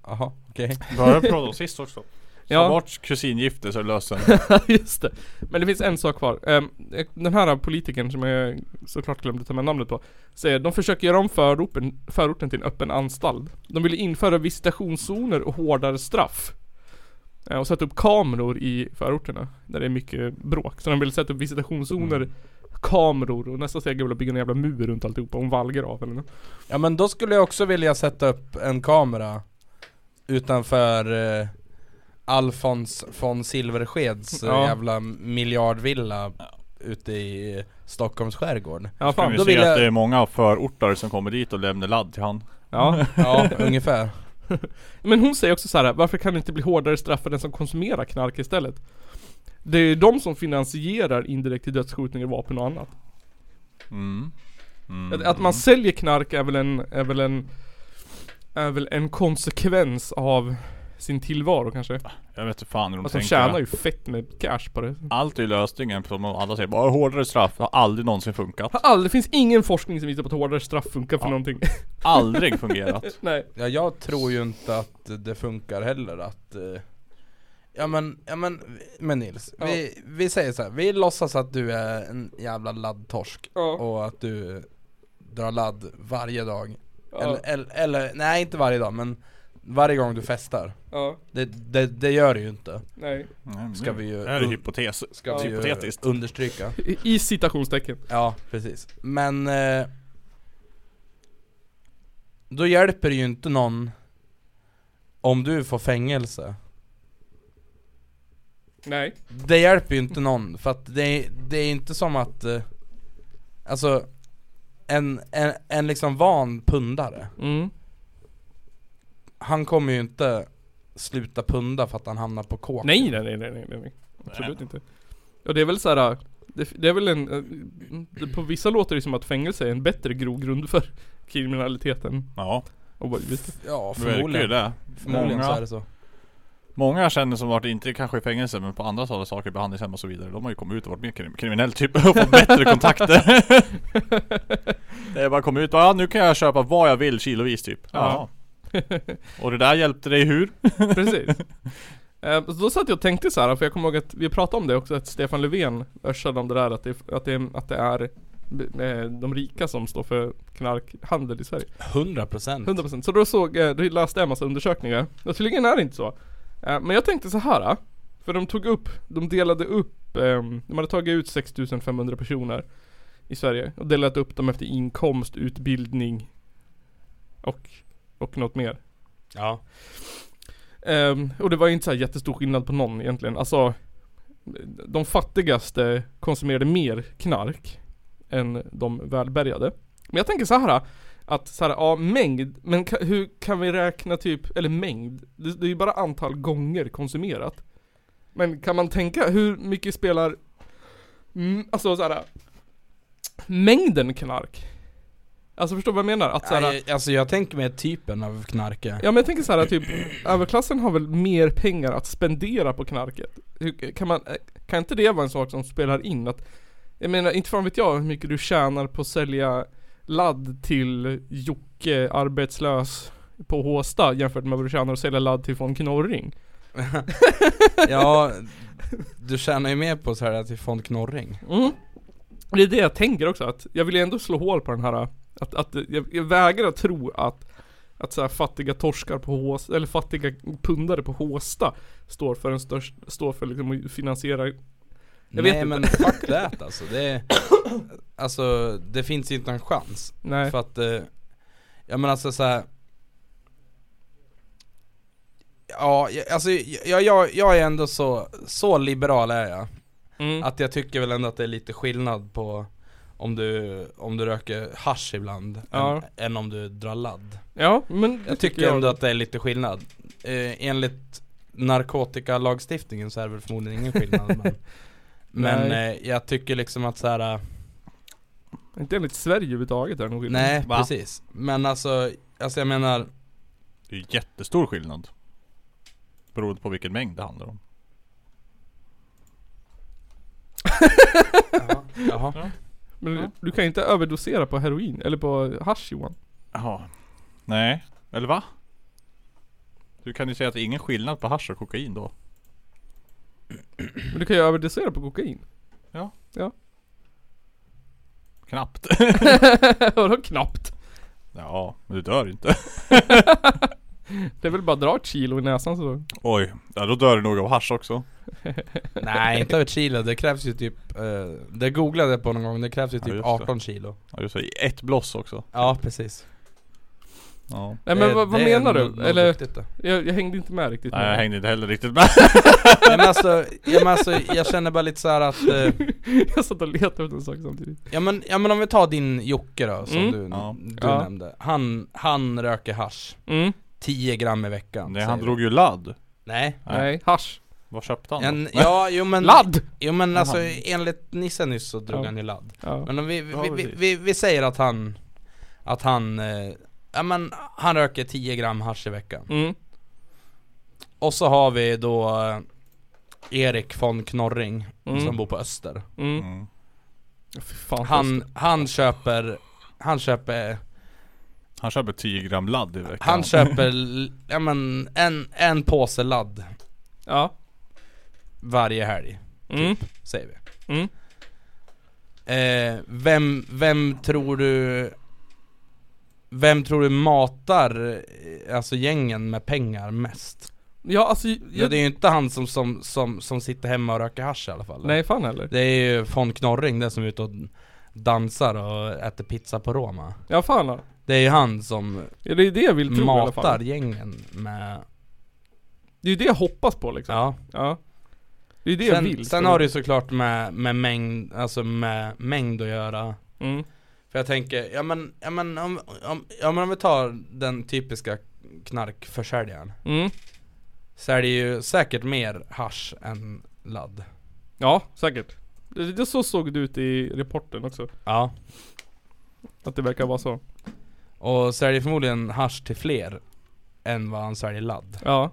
Jaha, okej.
Började prata om sist också. Ja.
Ja.
Ta bort kusingifte så löser
Just det. Men det finns en sak kvar. Ehm, Den här politikern som jag såklart glömde ta med namnet på. Säger de försöker göra om förorten, förorten till en öppen anstalt. De vill införa visitationszoner och hårdare straff. Eh, Och sätta upp kameror i förorterna. Där det är mycket bråk. Så de vill sätta upp visitationszoner,
Mm.
kameror och nästa steg är väl att bygga en jävla mur runt alltihopa. Och en vallgrav eller något.
Ja men då skulle jag också vilja sätta upp en kamera Utanför eh, Alfons von Silverskeds eh,
Ja.
jävla miljardvilla Ute i Stockholms skärgård
Ja
Kan
fan.
vi
då
se
vill
att
jag-
det är många förortare som kommer dit och lämnar ladd till han.
Ja.
Ja, ungefär
Men hon säger också så här: varför kan det inte bli hårdare straff för den som konsumerar knark istället? Det är ju de som finansierar indirekt till dödsskjutningar, vapen och annat.
Mm.
Att, att man säljer knark är väl en, är väl en, är väl en konsekvens av sin tillvaro kanske.
Jag vet inte fan hur de
Att de
tänker.
tjänar ju fett med cash på det.
Allt är ju lösningen som alla säger. Bara hårdare straff. Det har aldrig någonsin funkat.
Har aldrig, det finns ingen forskning som visar på att hårdare straff funkar för
Ja.
någonting.
Aldrig fungerat.
Nej.
Ja jag tror ju inte att det funkar heller att eh, Ja men, ja men, men Nils,
Ja.
vi, vi säger så här. vi låtsas att du är en jävla laddtorsk
Ja.
och att du drar ladd varje dag
Ja.
eller, eller, eller, nej inte varje dag men varje gång du festar
Ja.
Det, det, det gör det ju inte,
Nej.
Nej,
ska vi
eh,
ju,
Det här är hypotes.
ska vi ju
hypotetiskt.
understryka
I, i citationstecken.
Ja, precis Men eh, Då hjälper det ju inte någon Om du får fängelse
Nej.
Det hjälper ju inte någon, för att det, det är inte som att eh, Alltså en, en, en liksom van pundare
Mm.
Han kommer ju inte sluta punda för att han hamnar på kåk
Nej, nej, nej, nej, nej, nej. Absolut inte. Och det är väl så här. äh, Det, det är väl en... eh, Det, på vissa låter det som att fängelse är en bättre grogrund för kriminaliteten.
Ja,
Och bara, vet du.
Ja,
det verkar ju
förmodligen
det.
Förmodligen så är
Många,
det så
många jag känner som varit, inte kanske i fängelse, men på andra sådana saker, behandlingshem och så vidare. De har ju kommit ut och varit mer krim kriminell typ och fått bättre kontakter. det är bara kommit ut och ja, nu kan jag köpa vad jag vill kilovis typ. Ja. och det där hjälpte dig hur?
Precis. Eh, så då satt jag och tänkte så här, för jag kommer ihåg att vi pratade om det också, att Stefan Löfven örsade om det där att det, att det, att det är eh, de rika som står för knarkhandel i Sverige.
100%
100% Så då såg, eh, då läste jag en massa undersökningar Och tydligen är det inte så Eh, Men jag tänkte så här eh, För de tog upp, de delade upp ehm, De hade tagit ut 6500 personer I Sverige och delat upp dem efter inkomst, utbildning Och, och något mer
Ja
Ehm, Och det var ju inte så här jättestor skillnad på någon egentligen Alltså De fattigaste konsumerade mer knark Än de välbärgade Men jag tänker så här att så här, ja mängd, men ka, hur kan vi räkna typ, eller mängd? Det, det är ju bara antal gånger konsumerat. Men kan man tänka hur mycket spelar, mm, alltså så här, mängden knark? Alltså förstår du vad jag menar? Att så här,
Nej, alltså jag tänker mig typen av knarke
Ja men jag tänker så här typ, överklassen har väl mer pengar att spendera på knarket? Hur- Kan, man, kan inte det vara en sak som spelar in? Att, jag menar, inte fan vet jag hur mycket du tjänar på att sälja ladd till Jocke, arbetslös på Håsta jämfört med vad du tjänar att sälja ladd till von Knorring.
Ja, du tjänar ju mer på så här till Fond Knorring
Det är det jag tänker också, att jag vill ju ändå slå hål på den här Att, att, jag, jag vägrar att tro att, att så här fattiga torskar på Håsta, eller fattiga pundare på Håsta står för den störst, står för liksom att finansiera Jag
Nej
vet inte.
men fuck that alltså. Det, alltså det finns inte en chans.
Nej,
För att, eh, ja men alltså så här. Ja, jag- alltså jag, jag, jag är ändå så, så liberal är jag.
mm.
Att jag tycker väl ändå att det är lite skillnad på om du, om du röker hasch ibland
Ja.
än, än om du drar ladd.
ja men det
Jag tycker ändå att det är lite skillnad. Eh, enligt narkotikalagstiftningen så är det väl förmodligen ingen skillnad. men men eh, jag tycker liksom att så här. eh,
Inte enligt Sverige överhuvudtaget är det någon skillnad
nej
Va?
precis. Men alltså, alltså jag menar
Det är jättestor skillnad. Beroende på vilken mängd det handlar om.
Jaha.
Men du kan ju inte överdosera på heroin, eller på hasch Johan
Jaha. Nej. Eller va? Du kan ju säga att det är ingen skillnad på hasch och kokain då.
Men du kan ju överdosera på kokain
Knappt.
Vadå knappt?
Ja, men du dör inte.
Det är väl bara att dra ett kilo i näsan så
Oj. Ja, då dör du nog av hasch också.
Nej inte över ett kilo, det krävs ju typ eh, Det googlade jag på någon gång, det krävs ju
Ja,
typ
just det.
18 kilo
Ja, just det. I ett bloss också.
Ja precis
Ja.
Nej Eh, men
Det-
vad, vad
Eh, det är
menar
nog- nog
du? Eller,
riktigt det.
jag, jag hängde inte med riktigt
Nej,
med.
jag hängde inte heller riktigt med.
Nej, men alltså, ja, men alltså, jag känner bara lite så här att eh,
Jag satt och letade efter en sak samtidigt
Ja men, ja men om vi tar din Jocke då som
Mm.
du,
Ja.
du
Ja.
nämnde. Han, han röker hasch.
Mm,
10 gram i veckan.
Nej,
säger
han
vi.
drog ju ladd.
Nej.
Nej.
nej, hasch
Vad köpte han då?
En, ja jo men,
Ladd!
jo, men alltså
Jaha.
enligt Nisse nyss så drog
Ja.
han ju ladd.
Ja.
Men om vi, vi,
Ja,
vi, vi,
precis.
vi, säger att han, att han, eh, ja men han röker 10 gram hasch i veckan.
Mm,
Och så har vi då eh, Erik von Knorring
Mm.
som bor på Öster.
mm.
Mm.
Fy fan,
Han, han köper, han köper
Han köper 10 gram ladd i veckan.
Han köper, l- ja men en, en påse ladd
Ja,
varje helg,
mm.
säger vi
Mm.
eh, vem, vem tror du Vem tror du matar, eh, alltså gängen med pengar mest?
ja alltså,
Ja,
jag,
det är ju inte han som, som, som, som sitter hemma och röker hasch i alla fall
nej fan heller
Det är ju von Knorring, den som är ute och dansar och äter pizza på Roma
Ja fan ja.
Det är ju han som
ja, det är det jag vill tro i alla
matar
fall
gängen med,
Det är ju det jag hoppas på liksom
ja
Ja Det är det jag
Sen,
vill
sen har det ju såklart med, med mängd, alltså med mängd att göra
mm.
För jag tänker, ja men, ja men om, om, ja, men om vi tar den typiska knarkförsäljaren
Mm.
Så är det ju säkert mer hasch än ladd
Ja, säkert det, det Så såg det ut i rapporten också
Ja
Att det verkar vara så
Och så är det förmodligen hasch till fler än vad han säljer ladd
Ja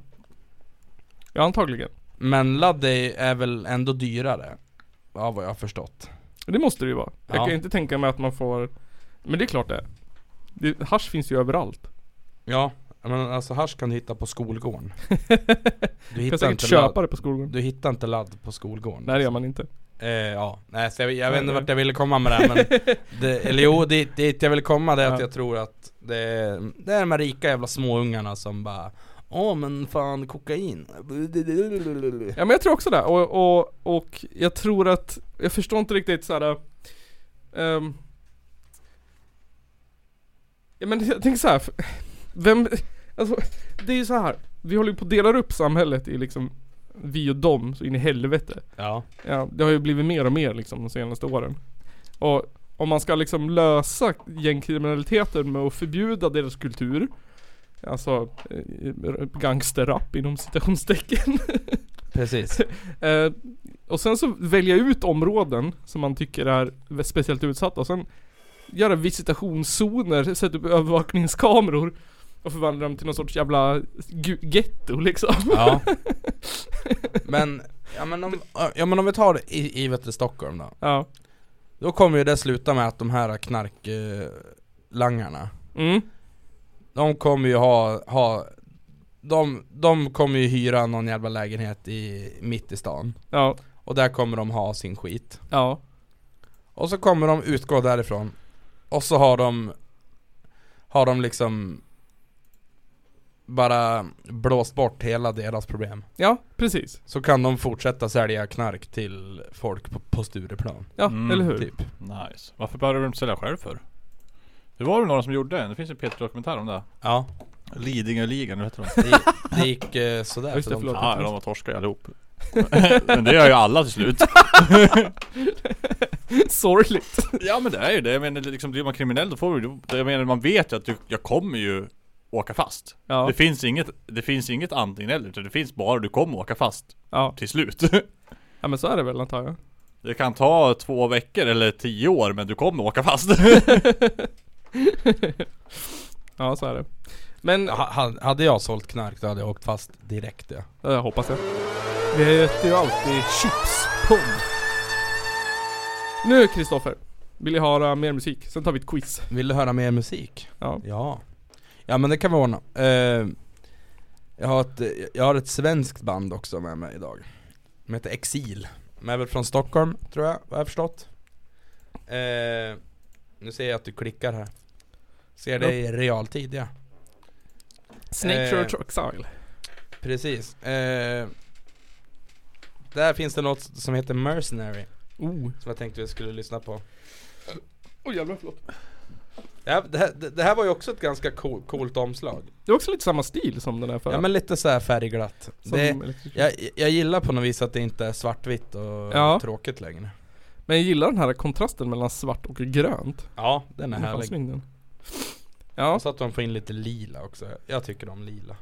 Ja antagligen
Men ladd är, är väl ändå dyrare Av vad jag har förstått
Det måste det ju vara Jag
Ja.
kan inte tänka mig att man får Men det är klart det, är. det Hasch finns ju överallt
Ja, men alltså hasch kan du hitta på skolgården Du
Du kan
hittar
säkert
inte
köpa
ladd,
det på skolgården
du hittar inte ladd på skolgården
Nej det gör man inte
Eh, ja, nej så jag, jag vet
Nej,
inte
nej.
vart jag ville komma med det här men det, Eller jo, dit, dit jag vill komma det är att
Ja.
jag tror att det är, det är de här rika jävla småungarna som bara Åh men fan kokain
Ja men jag tror också det och, och, och jag tror att Jag förstår inte riktigt såhär um, Ja men jag tänker så här. för- Vem Alltså det är ju så här. Vi håller ju på att dela upp samhället i liksom Vi och dem så in i helvete
Ja,
Ja, det har ju blivit mer och mer liksom de senaste åren. Och om man ska liksom lösa gängkriminaliteten med att förbjuda deras kultur, alltså eh, gangsterrap inom citationstecken.
precis
eh, och sen så välja ut områden som man tycker är speciellt utsatta och sen göra visitationszoner, sätta upp övervakningskameror och förvandla dem till någon sorts jävla gu- getto liksom.
Ja Men, ja men om, ja, men om vi tar det i, i vet du, Stockholm då
Ja.
Då kommer ju det sluta med att de här knarklangarna
Mm.
De kommer ju ha, ha de, de kommer ju hyra någon jävla lägenhet i, mitt i stan
Ja.
Och där kommer de ha sin skit
Ja.
Och så kommer de utgå därifrån Och så har de har de liksom bara blåst bort hela deras problem.
Ja, precis.
Så kan de fortsätta sälja knark till folk på, på Stureplan.
Ja,
Mm,
eller hur?
Typ.
Nice. Varför började de inte sälja själv för? Det var väl några som gjorde det? Det finns en Peter dokumentär om det.
Ja,
Lidingöligan, vet du vad
det, det gick eh, sådär
Just det,
för dem.
förlåt.
Ja, de var torskar allihop. men det gör ju alla till slut.
Sorgligt.
Ja men det är ju det. Jag menar liksom, blir man kriminell då får du Jag menar man vet ju att du, jag kommer ju åka fast.
Ja.
Det finns inget, det finns inget antingen eller. utan Det finns bara du kommer åka fast
Ja.
till slut.
ja, men så är det väl antar jag.
Det kan ta två veckor eller tio år men du kommer åka fast.
Ja, så är det. Men,
Ja, ha- ha- Hade jag sålt knark då hade jag åkt fast direkt ja.
ja, jag Eh, hoppas jag. Vi äter ju alltid chipspung. Nu Kristoffer, vill jag höra mer musik? Sen tar vi ett quiz.
Vill du höra mer musik?
Ja.
Ja, ja men det kan vi ordna. Eh, jag, har ett, jag har ett svenskt band också med mig idag. De heter Exil. De är väl från Stockholm tror jag, vad jag har förstått. Eh, nu ser jag att du klickar här. Ser det i realtid ja.
Snake
Eh.
Church Exile.
Precis. Eh, där finns det något som heter Mercenary.
Oh.
Som jag tänkte vi skulle lyssna på.
Oj jävlar, förlåt.
Det här, det här, det här var ju också ett ganska cool, coolt omslag.
Det är också lite samma stil som den här förra.
Ja men lite så här färgglatt.
som
Det,
Electric
Jag, jag gillar på något vis att det inte är svartvitt och
Ja.
tråkigt längre.
Men jag gillar den här kontrasten mellan svart och grönt.
Ja, den är
Den är fan
härlig.
snygg den. Ja,
Och så att de får in lite lila också. Jag tycker om lila.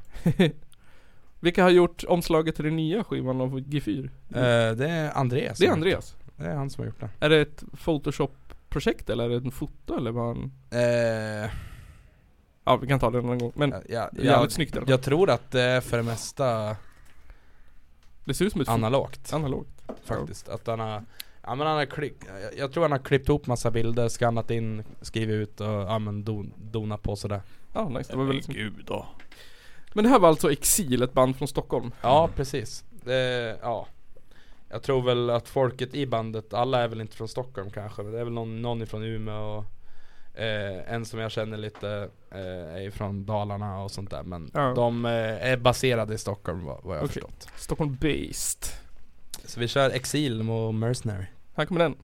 vilka har gjort omslaget till den nya skivan av G4?
Eh, det är Andreas.
Mm. Det är
som-
Andreas.
Det är han som har gjort det.
Är det ett Photoshop-projekt eller är det en foto eller vad han...
Eh,
Ja, vi kan ta det någon gång. Men
ja, Eh, ja,
det är jävligt snyggt i alla fall.
jag tror att det är för det mesta
Det ser ut som ett foto.
analogt
Analogt.
faktiskt. Att han har, ja, men han har klick, jag, jag tror han har klippt ihop massa bilder, skannat in, skrivit ut och ja, men don, donat på sådär.
Ja, nice. Det var väldigt snyggt.
Gud då.
Men det här var alltså Exil, ett band från Stockholm.
Ja, precis. Det, ja. Jag tror väl att folket i bandet, alla är väl inte från Stockholm kanske. men Det är väl någon, någon ifrån Umeå och eh, en som jag känner lite eh, är ifrån Dalarna och sånt där. Men
Ja.
de eh, är baserade i Stockholm vad, vad jag har
Okej.
förstått.
Stockholm-based.
Så vi kör Exil och Mercenary.
Här kommer den.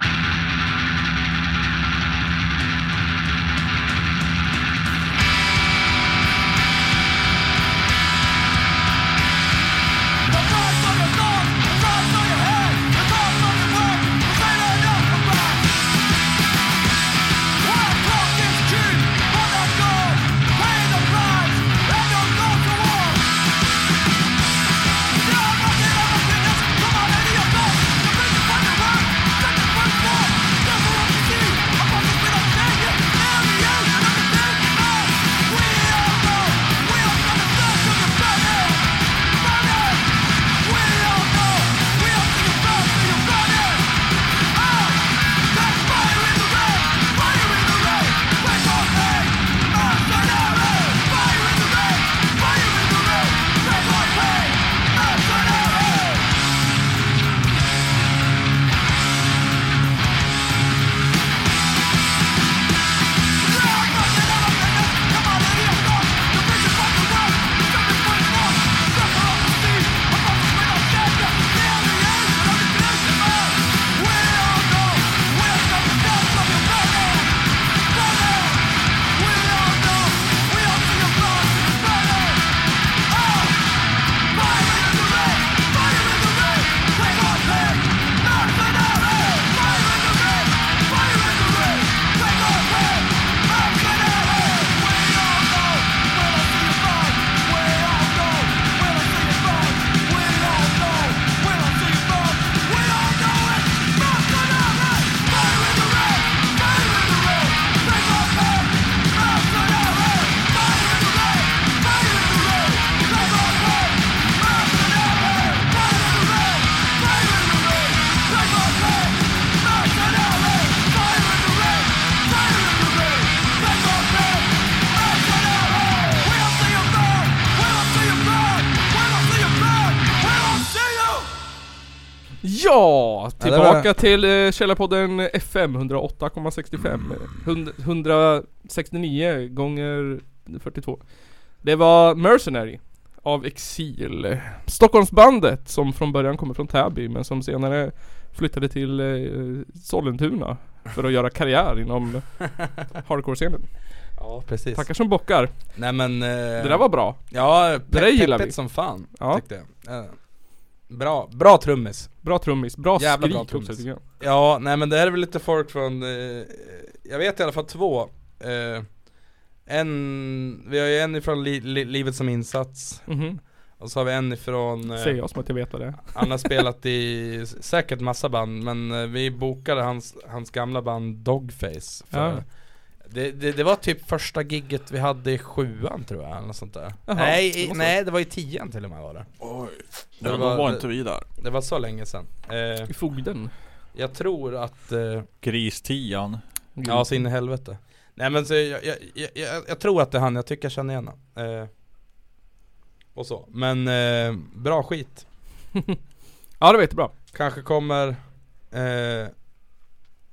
Come on, any of us, the best you find around, that's the first one.
Ja!
Ja, det var
Tillbaka
det.
till eh, Källarpodden FM 108,65 Hund- 169 gånger 42 Det var Mercenary av Exil Stockholmsbandet som från början kommer från Täby men som senare flyttade till eh, Sollentuna för att göra karriär inom hardcore-scenen.
Ja precis
Tackar som bockar.
Nej men eh,
Det där var bra.
Ja, pe-
där gillar
peppigt
vi.
som fan
Ja.
tyckte jag eh, Bra, bra trummis
Bra trummis. Bra
Jävla bra
skrik också
trummis.
tycker jag.
Ja, nej men det här är väl lite folk från eh, Jag vet i alla fall två eh, En, vi har ju en ifrån li, li, Livet som insats
Mhm.
Och så har vi en ifrån eh,
Säger jag som att jag vet vad det är.
Han har spelat i s- säkert massa band men eh, vi bokade hans, hans gamla band Dogface för
Ja.
det, det, det var typ första gigget vi hade i sjuan tror jag eller något sånt där
Jaha,
Nej,
det
i,
måste
nej det var i tian till och med var det
Oj.
Det
Ja,
var-
då var inte vi där.
Det var så länge sedan eh,
I fogden.
Jag tror att eh,
Gristian.
Mm.
Ja så in i helvete Nej men så, jag, jag, jag, jag, jag tror att det är han, jag tycker jag känner igen han. eh, Och så, men eh, bra skit
Ja det var jättebra.
Kanske kommer eh,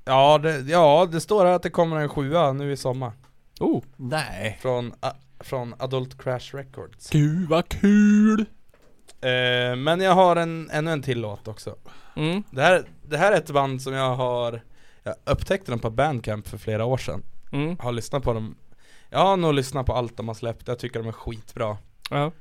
ja, det, ja, det står här att det kommer en sjua nu i sommar
Oh.
Nej.
Från, a, från Adult Crash Records
Gud vad kul!
eh, Men jag har en, ännu en till låt också
Mm.
det här, det här är ett band som jag har Jag upptäckte dem på Bandcamp för flera år sedan
Mm.
Har lyssnat på dem Jag har nog lyssnat på allt de har släppt, jag tycker de är skitbra
Ja.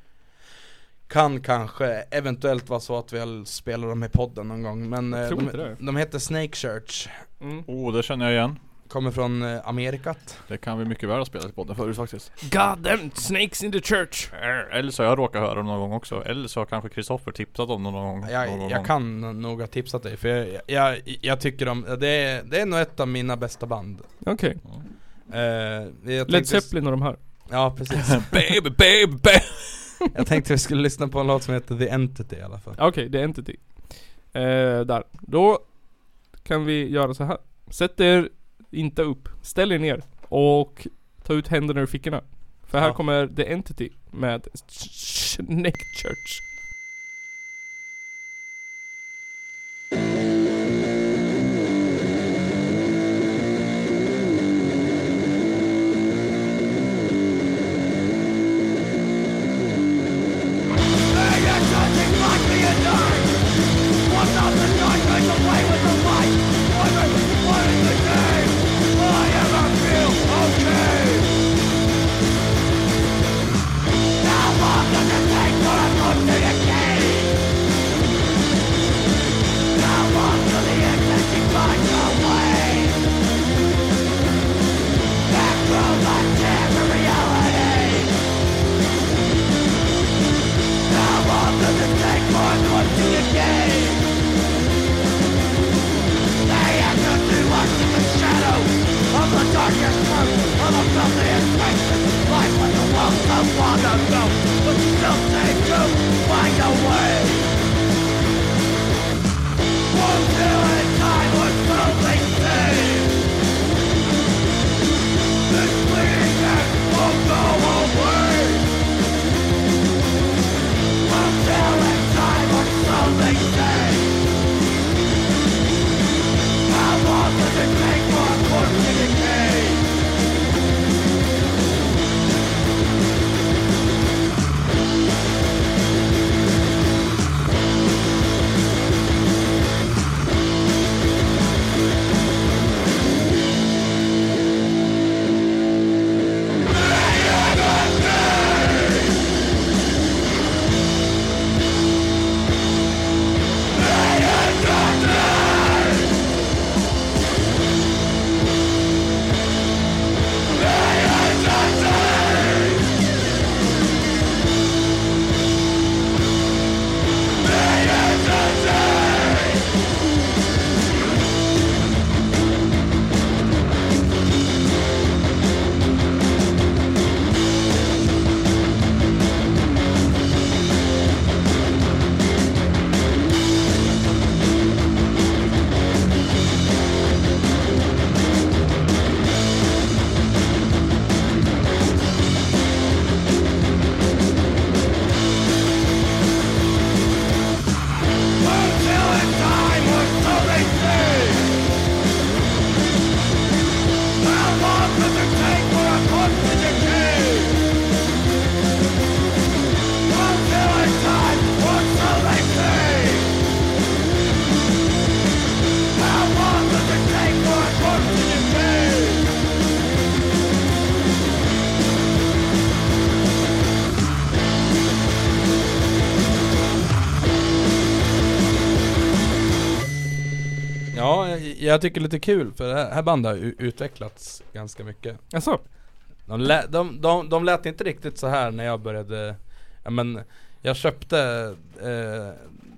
Kan kanske eventuellt vara så att vi har spelat dem i podden någon gång men
Jag
eh,
tror
de,
inte det.
de heter Snake Church
Mm.
Oh, det känner jag igen.
Kommer från eh, Amerikat
Det kan vi mycket väl ha spelat i podden förut faktiskt.
God damn snakes in the church.
Eller så har jag råkat höra dem någon gång också. Eller så har kanske Kristoffer tipsat om dem någon gång. någon
Jag,
gång.
jag kan nog ha tipsat dig för jag, jag, jag tycker de, det är, det är nog ett av mina bästa band
Okej.
eh, jag
Led
tänkte-
Zeppelin och de här.
Ja precis
Baby, baby, baby!
Jag tänkte vi skulle lyssna på en låt som heter The Entity i alla fall
Okej, det är Entity. Eh, där. Då kan vi göra så här. Sätt er inte upp. Ställ er ner. Och ta ut händerna ur fickorna. För här
Ja.
kommer The Entity med Snake Church.
Take what I'm going to
jag tycker det är lite kul för det här här bandet har ju utvecklats ganska mycket.
Alltså,
De, lä, de, de, de lät inte riktigt så här när jag började ja, men Jag köpte eh,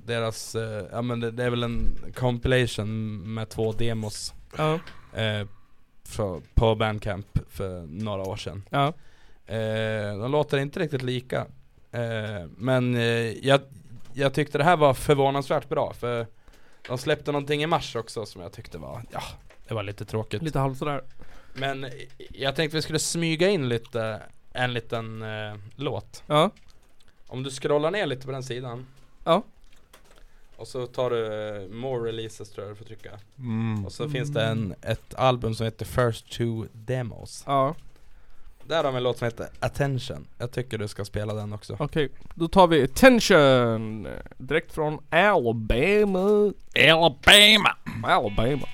deras, eh, ja men det, det är väl en compilation med två demos
ja,
eh, från- På Bandcamp för några år sedan
ja.
eh, De låter inte riktigt lika eh, Men eh, jag, jag tyckte det här var förvånansvärt bra för De släppte någonting i mars också som jag tyckte var, ja det var lite tråkigt
Lite halvt sådär.
men jag tänkte vi skulle smyga in lite En liten eh, låt
Ja,
Om du scrollar ner lite på den sidan
Ja.
Och så tar du eh, more releases tror jag du får trycka
Mm.
Och så finns det en, ett album som heter First Two Demos
ja,
Där har vi en låt som heter Attention Jag tycker du ska spela den också
okej. Då tar vi Attention! Direkt från Alabama.
Alabama!
Alabama.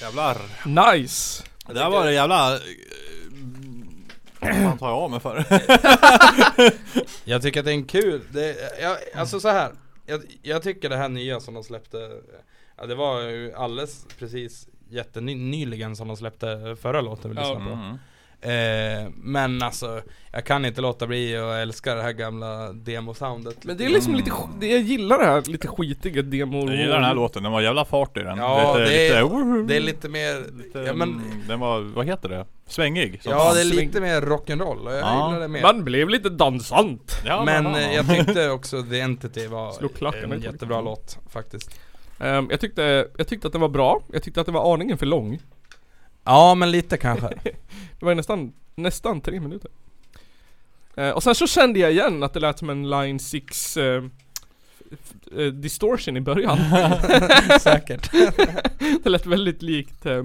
Jävlar.
Nice!
Det där var det jävla... eh, Vad fan tar jag av mig för?
Jag tycker att det är en kul, det, jag, alltså så här. Jag, jag tycker det här nya som de släppte ja, Det var ju alldeles precis jättenyligen som de släppte förra låten vi
Ja.
lyssnade
mm.
på eh, Men alltså Jag kan inte låta bli att älska det här gamla demosoundet
Men det är liksom lite, sk- det, jag gillar det här lite skitiga demor.
Jag gillar den här låten, den var jävla fart i den.
Ja,
lite,
det är-
lite,
Det är lite mer, ja men
mm, Den var, vad heter det? Svängig? som
Ja
fan.
det är lite mer rock'n'roll och jag
Ja.
gillar det mer
Man blev lite dansant!
Ja,
Men
ja, ja.
eh, jag tyckte också The Entity var
Slog klacken
en
i taket.
jättebra låt faktiskt
Ehm, jag, tyckte, jag tyckte att den var bra, jag tyckte att den var aningen för lång.
Ja men lite kanske
Det var ju nästan, nästan tre minuter. Eh, och sen så kände jag igen att det lät som en Line 6 eh, f- eh, distortion i början.
Säkert
det lät väldigt likt eh,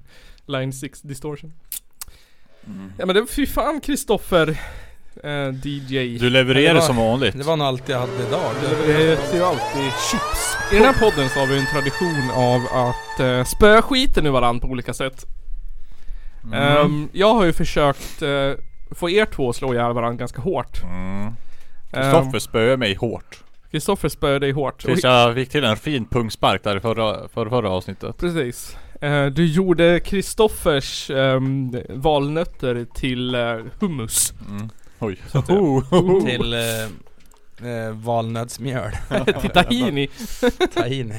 Line 6 distortion.
Mm.
Ja men det fy fan Kristoffer eh, DJ.
Du levererar
Det var-
som vanligt.
Det var nog allt jag hade idag
Det är ju alltid chips. I den här podden så har vi en tradition av att eh, spöa skiten ur varandra på olika sätt.
Mm.
Ehm, jag har ju försökt eh, få er två att slå ihjäl varandra ganska hårt.
Mm.
Ehm,
Kristoffer spöade mig hårt.
Kristoffer spöade dig hårt.
Tills jag fick till en fin pungspark där i förra, förra, förra avsnittet.
Precis. Eh, Du gjorde Kristoffers ehm, valnötter till eh, hummus.
Oj.
Oh.
Till eh, eh, valnötsmjöl,
till tahini.
tahini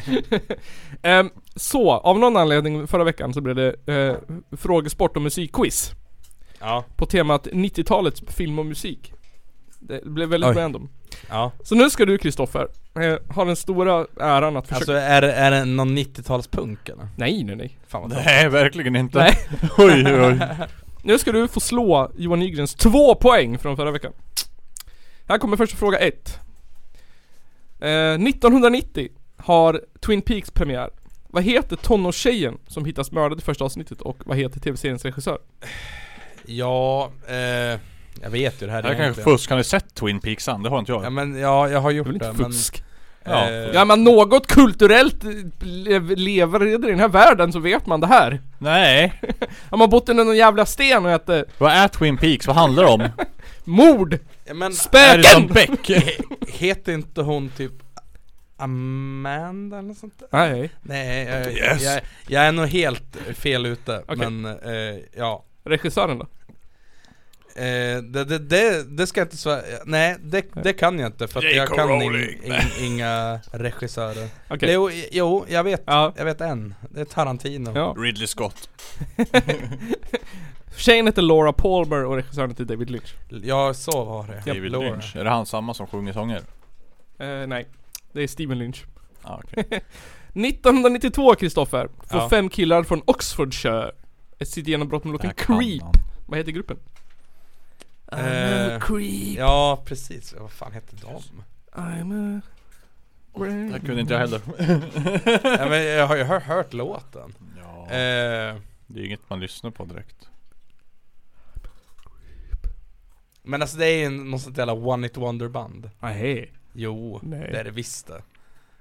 Ehm, så, av någon anledning förra veckan så blev det eh, frågesport och musikquiz.
Ja,
På temat 90-talets film och musik. Det blev väldigt
Oj.
random.
Ja.
Så nu ska du Kristoffer, eh, ha den stora äran att försöka...
Alltså är, det- är det någon 90-talspunk eller?
nej, nej, nej.
Fan vad tråkigt.
Nej, verkligen inte.
Nej.
Oj, oj, oj.
Nu ska du få slå Johan Nygrens två poäng från förra veckan. Här kommer första fråga ett. Eh, 1990 har Twin Peaks premiär. Vad heter tonårstjejen som hittas mördad i första avsnittet och vad heter tv-seriens regissör?
Ja, eh, jag vet ju det här,
Det här kanske
egentligen.
fusk. Har ni sett Twin Peaks än? Det har inte jag.
Ja men ja, jag har
Det är väl
gjort det,
inte
men...
fusk?
Ja.
eh,
Ja men något kulturellt lev- lever i den här världen så vet man det här.
Nej.
Har man bott under någon jävla sten och äter
Vad är Twin Peaks? Vad handlar det om?
mord,
ja, men
är det som
spöken!
Beck?
heter inte hon typ Amanda eller något sånt där?
Nej,
Nej, jag,
Yes.
jag, jag är nog helt fel ute,
Okej.
men eh, ja
regissören då?
Eh, det, det, det, det ska jag inte svara, nej det, det kan jag inte för att jag
J.K.
kan in,
Rowling.
in, inga regissörer
Okej.
jo, jo, jag vet,
Ja.
jag vet en, det är Tarantino
Ja.
Ridley Scott.
Tjejen heter Laura Palmer och regissören heter David Lynch.
Ja, så var det
David
Laura.
Lynch. Är det han samma som sjunger sånger?
Eh, nej, det är Steven Lynch.
Ah, okej.
1992 Kristoffer, får
Ja.
fem killar från Oxfordshire Eh, ett sitt genombrott med
Där
låten
kan
Creep.
han.
Vad heter gruppen?
Eh,
creep,
Ja, precis, vad fan hette de?
I'm a...
Det här kunde inte jag heller.
ja, men jag har ju hört, hört låten
ja,
eh,
det är ju inget man lyssnar på direkt.
Men alltså det är ju något sånt jävla one hit wonder band
Nej.
Jo,
Nej.
det är det visst det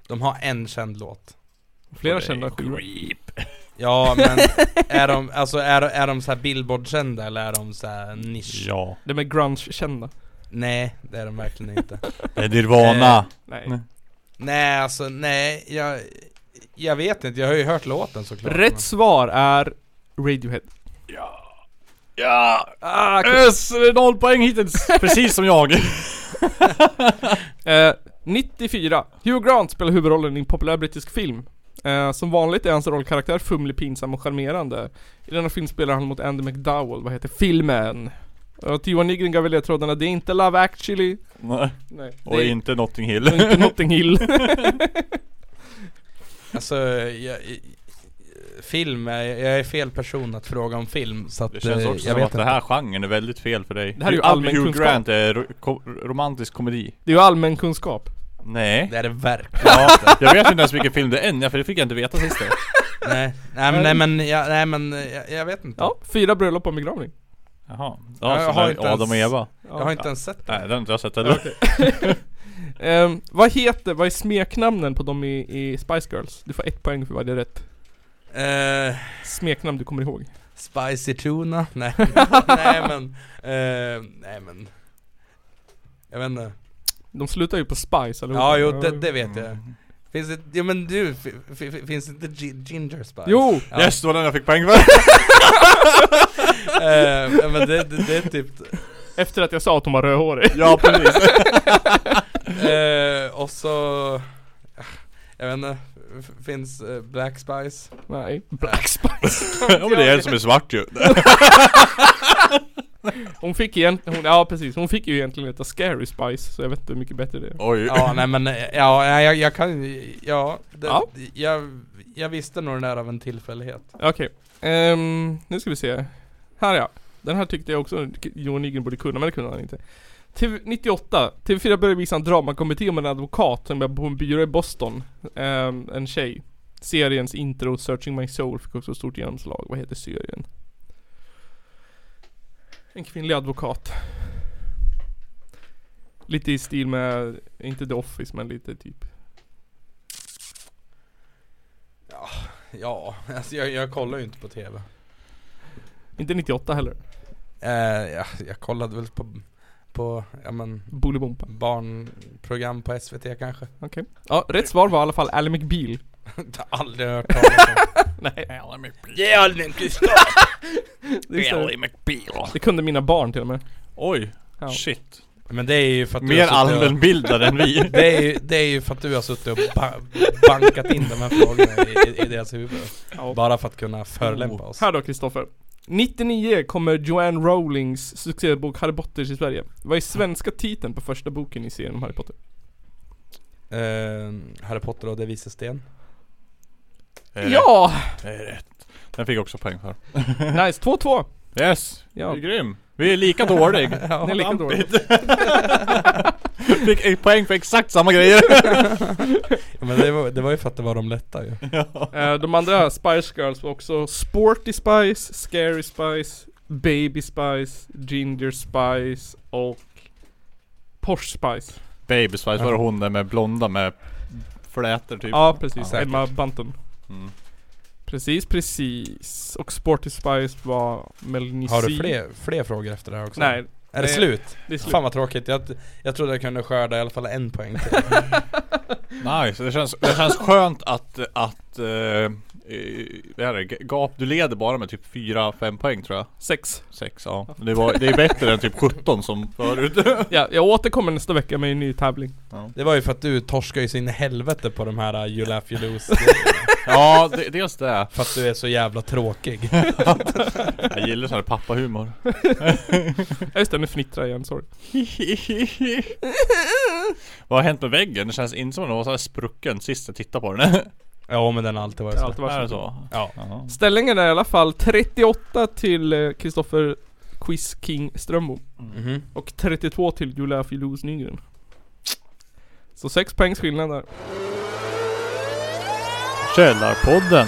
De har en känd låt
Flera
Och det är
kända skivor.
Creep.
Ja men är de, alltså är, är de så här billboardkända eller är de så här nisch?
Ja.
De är grunge-kända.
Nej, det är de verkligen inte
Det är Nirvana.
Nej.
Nej.
Nej alltså, nej, jag, jag vet inte, jag har ju hört låten såklart
Rätt svar är Radiohead.
Ja!
Ah,
Yes! Det är noll poäng hittills. Precis som jag.
Eh, 94. Hugh Grant spelar huvudrollen i en populär brittisk film. Eh, som vanligt är hans rollkaraktär fumlig, pinsam och charmerande. I denna film spelar han mot Andy McDowell, vad heter filmen? Och till Johan Nygren gav vi ledtrådarna, det är inte Love actually.
Nej.
Nej,
Och
det är
inte Notting Hill.
inte Notting Hill.
man. Alltså, jag, i- film, jag, jag är fel person att fråga om film så att
Det känns
eh,
också
jag
som
vet
att den här genren är väldigt fel för dig.
Det här är ju
Hugh-
allmän
Hugh
kunskap.
Grant är ro- ko- romantisk komedi.
Det är ju allmän kunskap.
Nej.
Det är det verkligen
Ja, jag vet inte ens vilken film det är än, för det fick jag inte veta sist.
Nej, nej men, nej, men, jag, nej, men jag, jag vet inte
Ja, fyra bröllop och en begravning.
Jaha.
Ja,
Ja,
jag
jag
har
har
inte
Adam och
ens-
Eva.
Jag har inte ens sett
Nej,
den
den har inte jag sett heller.
Ehm, vad heter, vad är smeknamnen på dem i, i Spice Girls? Du får ett poäng för varje rätt.
Eh,
Smeknamn du kommer ihåg.
Spicy tuna? Nej, nej men, eh, nej men Jag vet inte
De slutar ju på Spice eller
Ja jo det, det vet jag Finns det, ja men du, f- f- f- finns det inte gi- ginger spice?
Jo!
Ja.
Yes, det var den jag fick poäng för!
Eh, ja, men det, det, det är typ,
Efter att jag sa att hon var rödhårig.
ja, precis.
eh, och så, jag vet inte, f- finns eh, black spice?
Nej. Black Spice.
ja, men det är en som är svart ju.
Hon fick egentligen, hon, ja precis, hon fick ju egentligen heta Scary Spice så jag vet inte hur mycket bättre det är.
Oj.
Ja nej men, eh, ja nej, jag, jag kan ju- ja, det,
Ja.
Jag, jag visste nog den där av en tillfällighet
Okej, ehm, nu ska vi se. Här ja. Den här tyckte jag också Johan Nygren borde kunna, men det kunde han inte. TV 98, TV4 började visa en dramakomedi om en advokat som jobbade på en byrå i Boston. Ehm, en tjej. Seriens intro, Searching My Soul, fick också stort genomslag. Vad heter serien? En kvinnlig advokat. Lite i stil med, inte The Office, men lite typ.
Ja, alltså jag, jag kollar ju inte på TV
Inte 98 heller.
eh, jag, jag kollade väl på, på, ja men
Bolibompa.
barnprogram på SVT kanske
Ja, rätt svar var i alla fall Ally McBeal.
Jag har aldrig hört talas om
Nej.
Ge honom Gustav!
Just det. Det kunde mina barn till och med.
Oj.
Ja.
Shit.
Men det är ju för att du
Mer
har suttit och,
allmänbildad än vi.
det, är ju, det är ju för att du har suttit och ba- bankat in de här frågorna i, i, i deras huvud
Ja. Oh.
Bara för att kunna förolämpa oss
Här då Kristoffer. 99 kommer Joanne Rowlings succébok Harry Potter till Sverige. Vad är svenska titeln på första boken i serien om Harry Potter?
Eh, Harry Potter och det vises sten.
Det
Eh.
är rätt,
Ja!
Det är rätt. Den fick jag också poäng för.
Nice, 2-2!
Yes!
Ja.
Du är grym! Vi är lika dålig.
Det är lika dåligt.
fick en poäng för exakt samma grejer.
Ja, men det var, det var ju för att det var de lätta ju.
Eh, de andra Spice Girls var också Sporty Spice, Scary Spice, Baby Spice, Ginger Spice och Posh Spice.
Baby Spice var det hon där med blonda med flätor typ.
Ja precis,
säkert.
Emma Bunton.
Mm.
Precis, precis. Och Sporty Spice var Melanie
Har
C.
du fler, fler frågor efter det här också?
Nej,
Är det
Nej.
slut?
det är slut.
Fan vad tråkigt, jag, jag trodde jag kunde skörda i alla fall en poäng till.
Nice, det känns, det känns skönt att, att eh, eh, det här är g- gap, du leder bara med typ 4-5 poäng tror jag.
Sex.
6 ja. Men Det, var, det är bättre än typ 17 som förut.
Ja, jag återkommer nästa vecka med en ny tävling.
Det var ju för att du torskar ju så in i helvete på de här uh, You laugh you lose
Ja, det, dels det.
För att du är så jävla tråkig
Jag gillar sån här pappahumor.
Ja just det, nu fnittrar jag igen, sorry.
Vad har hänt med väggen? Det känns inte som att den var så här sprucken sist jag tittade på den.
Ja men den har alltid varit
Det har
så
alltid
Är det
varit så.
så?
Ja.
Jaha.
Ställningen är i alla fall 38 till Kristoffer Quiz King Strömbom.
Mhm.
Och 32 till Julia Filous Nygren. Så 6 poängs skillnad där.
Källarpodden.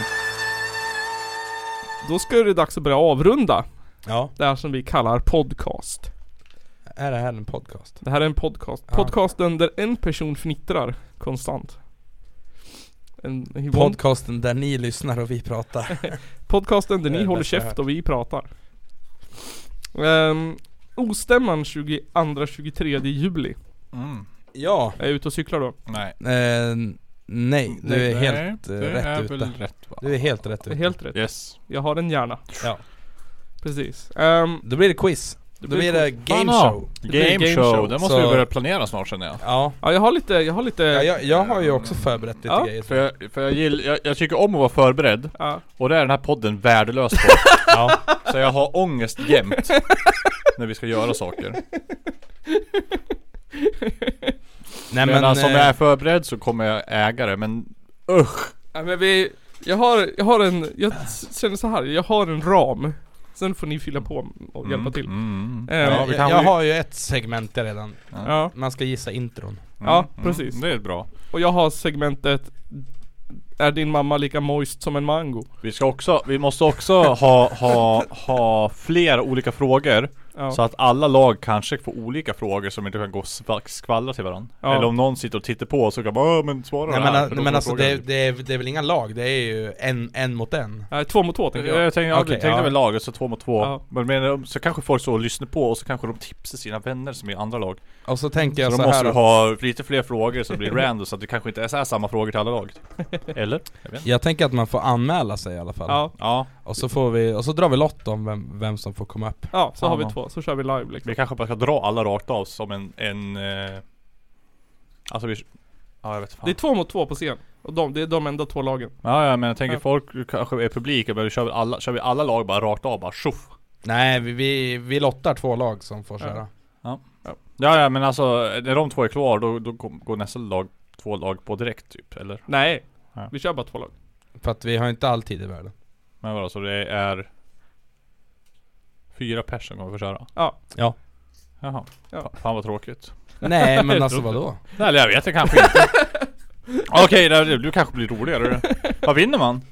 Då ska det dags att börja avrunda
Ja,
det här som vi kallar podcast.
är det här en podcast?
Det här är en podcast.
Ja.
Podcasten där en person fnittrar konstant. En, en
Podcasten där ni lyssnar och vi pratar
podcasten där
Det är
ni
det
håller
bästa jag
käft
hört.
och vi pratar. Um, Ostämman 22-23 juli.
Mm.
Ja,
Jag är ute och cyklar då.
Nej.
eh, nej du är
Nej,
helt eh,
det är
rätt
väl
ute
rätt va?
Du är helt rätt
Det är
ute
helt rätt.
Yes.
Jag har en hjärna.
Ja.
Precis. Ehm,
Då blir det quiz,
det
då blir
blir
det game
Fan, ja.
show
blir
Game,
game
show.
show,
Den måste
så-
vi börja planera snart känner jag.
Ja,
ja, jag har lite, jag har lite...
ja jag, jag har ju också förberett lite
Ja.
grejer
För jag, för jag gillar, jag, jag tycker om att vara förberedd.
ja.
Och det är den här podden värdelös på.
ja.
så jag har ångest jämt. När vi ska göra saker.
Nej
Men,
men,
som
eh,
jag är förberedd så kommer jag äga det men usch.
Ja, men vi... Jag har, jag har en... Jag s- känner så här. jag har en ram. Sen får ni fylla på och hjälpa till.
Mm.
Ehm,
Ja, vi kan
jag, jag
ju-
har ju ett segment där redan
Ja.
Man ska gissa intron
Ja,
mm.
precis.
Det är bra.
Och jag har segmentet Är din mamma lika moist som en mango?
Vi ska också, vi måste också ha, ha, ha flera olika frågor.
Ja.
Så att alla lag kanske får olika frågor som inte kan gå och skva- skvallra till varandra.
Ja.
Eller om någon sitter och tittar på så kan man "Åh, men svara
Nej
det här",
men, nej,
för då
men
får
alltså
frågan
det,
typ.
det, är, det är väl inga lag, det är ju en, en mot en
Nej, Äh, två mot två tänker jag.
Jag tänkte, jag
Okej,
tänkte
ja.
väl laget så två mot två.
Ja.
Men, men så kanske folk står och lyssnar på och så kanske de tipsar sina vänner som är i andra lag.
Och så tänker jag
så
så, här
de måste du
att-
ha lite fler frågor så det blir random så att det kanske inte är så här samma frågor till alla lag. Eller? Jag vet inte.
Jag tänker att man får anmäla sig i alla fall
Ja,
Ja,
Och så får vi, och så drar vi lott om vem, vem som får komma upp
ja så
Fan
har vi
vad-
två, så kör vi live liksom.
vi kanske bara ska dra alla rakt av som en... en eh... Alltså vi... Ja jag vet fan.
Det är två mot två på scen. Och de, det är de enda två lagen.
Ja, ja men jag tänker
Ja.
folk kanske är publik, men vi kör, väl alla, kör vi alla lag bara rakt av bara tjoff.
Nej vi, vi, vi lottar två lag som får
Ja.
köra
Ja, ja men alltså när de två är kvar då, då går går nästa lag två lag på direkt typ, eller?
Nej.
Ja.
Vi kör bara två lag.
För att vi har inte all tid i världen
Men vadå, så det är... Fyra pers som kommer få köra?
Ja.
Ja.
Jaha.
Ja.
Fa- Fan vad tråkigt.
Nej men
Jag
alltså
trodde-
vadå?
Nej, eller jag vet det kanske inte. Okej, okay, du kanske blir roligare. Vad vinner man?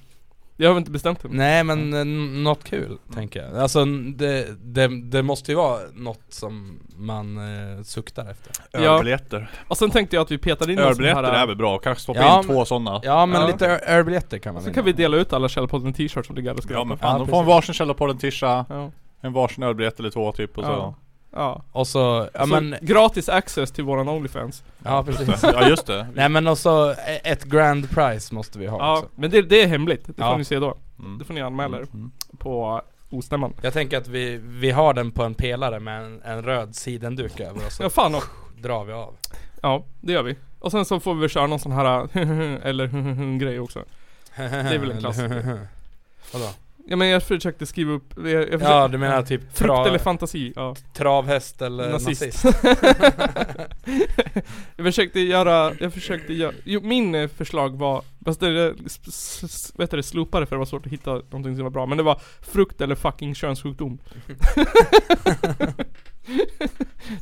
Jag har inte bestämt än.
Nej men eh, något kul tänker jag Alltså n- det, det, det måste ju vara något som man eh, suktar efter
Ja.
Ölbiljetter.
Och sen tänkte jag att vi petar in någon sån
Ölbiljetter är
här...
väl bra? Kanske stoppa
Ja,
in
men-
två sådana. Ja,
Ja men
Ja.
lite ö- ölbiljetter kan man
Så
vinna.
kan vi dela ut alla Källarpodden t-shirts som ligger här och skräpar.
men fan,
Ja,
de får
precis.
en varsin Källarpodden tisha,
ja.
en varsin ölbiljett eller två typ och
Ja.
så.
ja.
Och så, ja
Så
men,
gratis access till våran Onlyfans.
ja precis
Ja just det.
Nej men och så e- ett grand prize måste vi ha
Ja,
också
men det, det är hemligt. Det får
Ja.
ni se då.
Mm.
Det får ni anmäla er
Mm.
på ostämman.
Jag tänker att vi, vi har den på en pelare med en, en röd sidenduk över och
Ja
så
fan och,
drar vi av
Ja, det gör vi. Och sen så får vi väl köra någon sån här eller grej också.
Det
är väl en klassiker.
Vadå?
Ja men jag försökte skriva upp, jag, jag försökte,
Ja du menar typ
frukt
tra-
eller fantasi? Ja.
travhäst eller nazist?
Nazist. jag försökte göra, jag försökte göra, jo min eh, förslag var, fast det, det- s- s- vet du, det slopade för det var svårt att hitta någonting som var bra, men det var frukt eller fucking könssjukdom.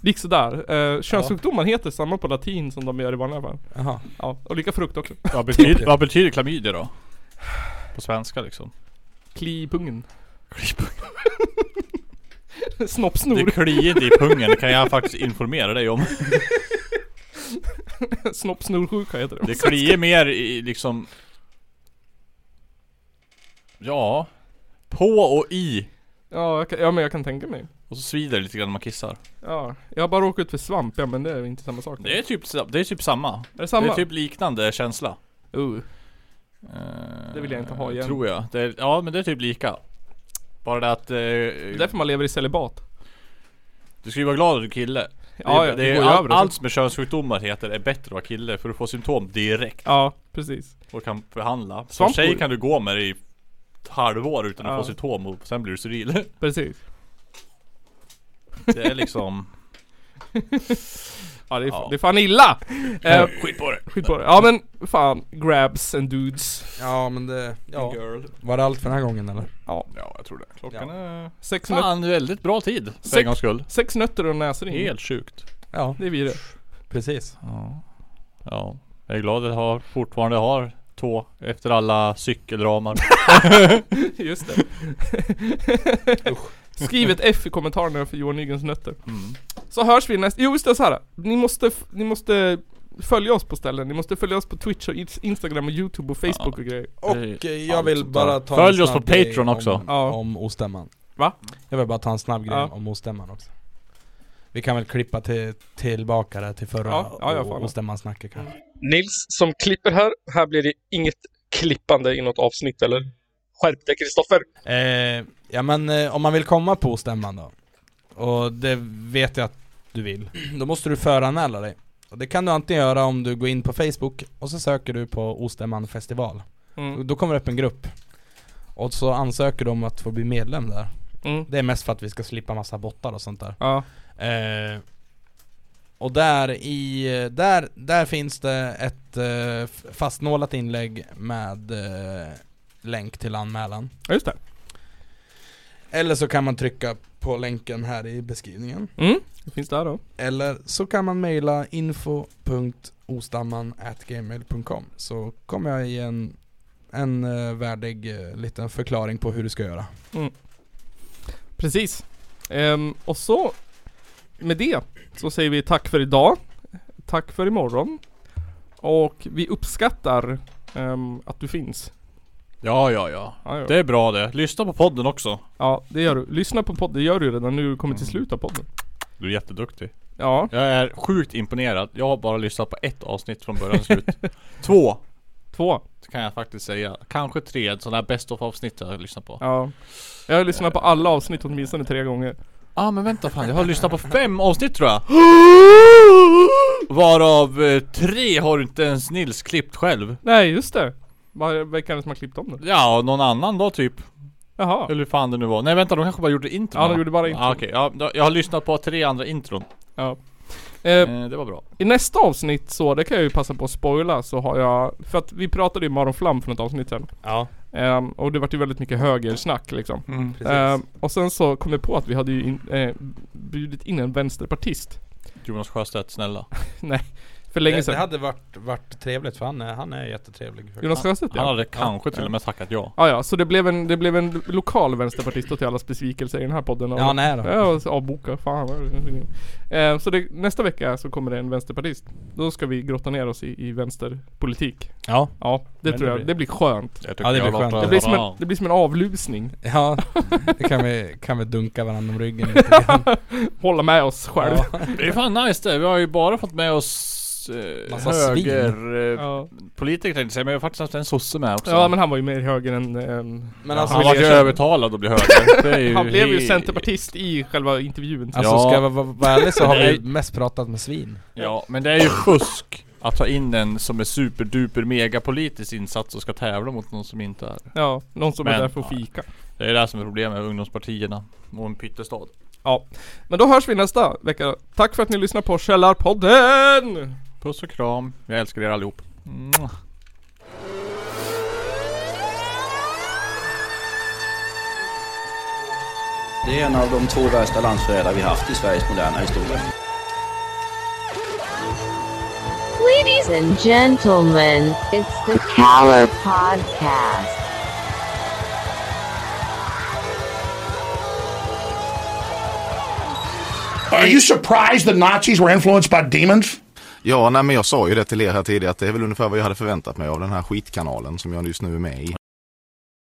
det gick sådär. Uh, könssjukdomar heter samma på latin som de gör i vanliga fall.
Jaha.
Ja, och lika frukt också.
Vad betyder, vad betyder klamydia då? På svenska liksom.
Kli i pungen.
Kli i Det
Snoppsnor.
kliar inte i pungen, det kan jag faktiskt informera dig om.
Snoppsnorsjuka heter det.
Det kliar mer i liksom... Ja. På och i.
Ja, jag kan, ja men jag kan tänka mig.
Och så svider det lite grann när man kissar.
Ja, jag har bara råkat ut för svamp, ja men det är ju inte samma sak.
Det är typ, sa- det är typ samma.
Är det samma?
Det är typ liknande känsla.
Uh.
Eh,
Det vill jag inte ha igen.
Tror jag. Det är, ja men det är typ lika. Bara det att... Eh,
Det är därför man lever i celibat.
Du ska ju vara glad att du är kille.
Ja, ja,
det, är-
det
det är,
går ju
all,
över det.
allt som är könssjukdomar heter är bättre att vara kille för du får symptom direkt
Ja, precis.
och kan behandla. Som
Svampor.
tjej kan du gå med det i ett halvår utan att
Ja.
få symptom och sen blir du steril.
Precis.
Det är liksom...
Ja det är,
Ja.
Det är fan illa! Eh,
Skit på det!
skit på det. Ja men fan, grabs and dudes.
Ja men det, ja.
Girl.
Var det allt för den här gången eller?
Ja.
Ja jag tror det. Klockan
Ja.
är...
Sex, nöt-
Fan väldigt bra tid för en
Sex- Mm.
gångs skull.
sex nötter och näsring.
Helt sjukt.
Ja,
Det är vi det.
precis.
Ja. Jag är glad att jag har, fortfarande har tå efter alla cykelramar.
Just det. Skriv ett F i kommentarerna för Johan Nygrens nötter.
Mm.
Så hörs vi nästa... Jo just det, så här. Ni måste, f- ni måste följa oss på ställen. Ni måste följa oss på Twitch och Ins- Instagram och Youtube och Facebook och grejer.
Och
Det
eh, jag vill
allt
bara
sånt
ta
där. Följ
en
oss på
snabb grej
Patreon
om,
också.
Ja.
Om ostämman
Va?
Jag vill bara ta en snabb grej
Ja.
om ostämman också Vi kan väl klippa till, tillbaka där till förra
Ja, ja, ja, fan.
ostämman-snacket kanske
Nils som klipper här. Här blir det inget klippande i något avsnitt, eller? Skärp dig, Kristoffer!
Eh, ja men eh, om man vill komma på stämman då Och det vet jag att du vill Då måste du föranmäla dig och det kan du antingen göra om du går in på Facebook och så söker du på Ostämman festival
Mm.
Då kommer det upp en grupp Och så ansöker du om att få bli medlem där
Mm.
Det är mest för att vi ska slippa massa bottar och sånt där
Ja.
eh, Och där i, där, där finns det ett eh, f- fastnålat inlägg med eh, länk till anmälan
ja, just det.
eller så kan man trycka på länken här i beskrivningen.
Mm. Det finns där då.
Eller så kan man mejla info.ostamman.gmail.com Så kommer jag ge en, en eh, värdig eh, liten förklaring på hur du ska göra.
Precis. Ehm, och så med det så säger vi tack för idag. Tack för imorgon. Och vi uppskattar ehm, att du finns.
Ja ja ja.
Ja, ja.
Det är bra det. Lyssna på podden också.
ja, det gör du. Lyssna på podden, det gör du redan nu. Du kommer till slut av podden.
Du är jätteduktig.
Ja,
Jag är sjukt imponerad. Jag har bara lyssnat på ett avsnitt från början till slut. Två
två.
kan jag faktiskt säga. Kanske tre. Ett sånt här best of avsnitt jag har lyssnat på. Ja
Ja. Jag har lyssnat på alla avsnitt åtminstone tre gånger.
ah, men vänta fan. Jag har lyssnat på fem avsnitt tror jag. Varav eh, tre har inte ens Nils klippt själv.
Nej, just det. Vad vilka är det som har klippt om det?
Ja, och någon annan då typ.
Jaha.
Eller hur fan det nu var. Nej vänta, de kanske bara gjorde intron.
Ja, de gjorde bara intron.
Ah, Okej, ja, då- jag har lyssnat på tre andra intron.
Ja. Ehm,
Eh, det var bra.
I nästa avsnitt så, det kan jag ju passa på att spoila, så har jag... För att vi pratade ju om Aron Flam för något avsnitt sen.
Ja,
Ehm, och det vart ju väldigt mycket högersnack liksom. Ehm, och sen så kom jag på att vi hade ju in, eh, bjudit in en vänsterpartist.
Jonas Sjöstedt, snälla.
Nej,
det,
för länge
det
sedan.
hade varit, varit trevligt för han är, han är jättetrevlig. faktiskt.
Jonas Sjöstedt
Han
ja.
hade kanske till och med tackat ja.
Ah, ja, så det blev en, det blev en lokal vänsterpartist och till allas besvikelse i den här podden.
Ja, han är då.
Ja, och så avboka. Fan vad eh, Så det, nästa vecka så kommer det en vänsterpartist. Då ska vi grotta ner oss i, i vänsterpolitik.
Ja,
Ja, det
Men
tror
det
jag.
blir-
Det blir skönt.
Jag
Ja, det blir
jag
skönt.
låter-
Det blir, som en, det blir som en avlusning.
ja det kan vi, kan vi dunka varandra om ryggen lite grann.
Hålla med oss själv.
Ja.
Det är fan nice det. Vi har ju bara fått med oss eh,
Massa
höger... Eh,
Ja.
Politiker tänkte jag säga, men vi har faktiskt haft en sosse med också.
ja, men han var ju mer höger än... ehm,
Men alltså,
han
vill
var ju
erkänna.
övertalad att bli höger. Det är
Han blev ju
he-
centerpartist i själva intervjun.
alltså
Ja.
ska jag vara, vara ärlig så har vi
Nej.
mest pratat med svin.
Ja, men det är ju fusk. Att ta in en som är superduper mega politisk insats och ska tävla mot någon som inte är
Ja, någon som är
Men-
där för att fika.
Det är det som är problemet med ungdomspartierna och en pyttestad.
Ja. Men då hörs vi nästa vecka då. Tack för att ni lyssnar på Källarpodden!
Puss och kram. Jag älskar er allihop. Mwah.
Det är en av de två värsta landsförrädare vi haft i Sveriges moderna historia.
Ladies and gentlemen, it's the Caller Podcast.
Are you surprised the Nazis were influenced by demons?
Ja, nej men jag sa ju det till er här tidigare att det är väl ungefär vad jag hade förväntat mig av den här skitkanalen som jag just nu är med i.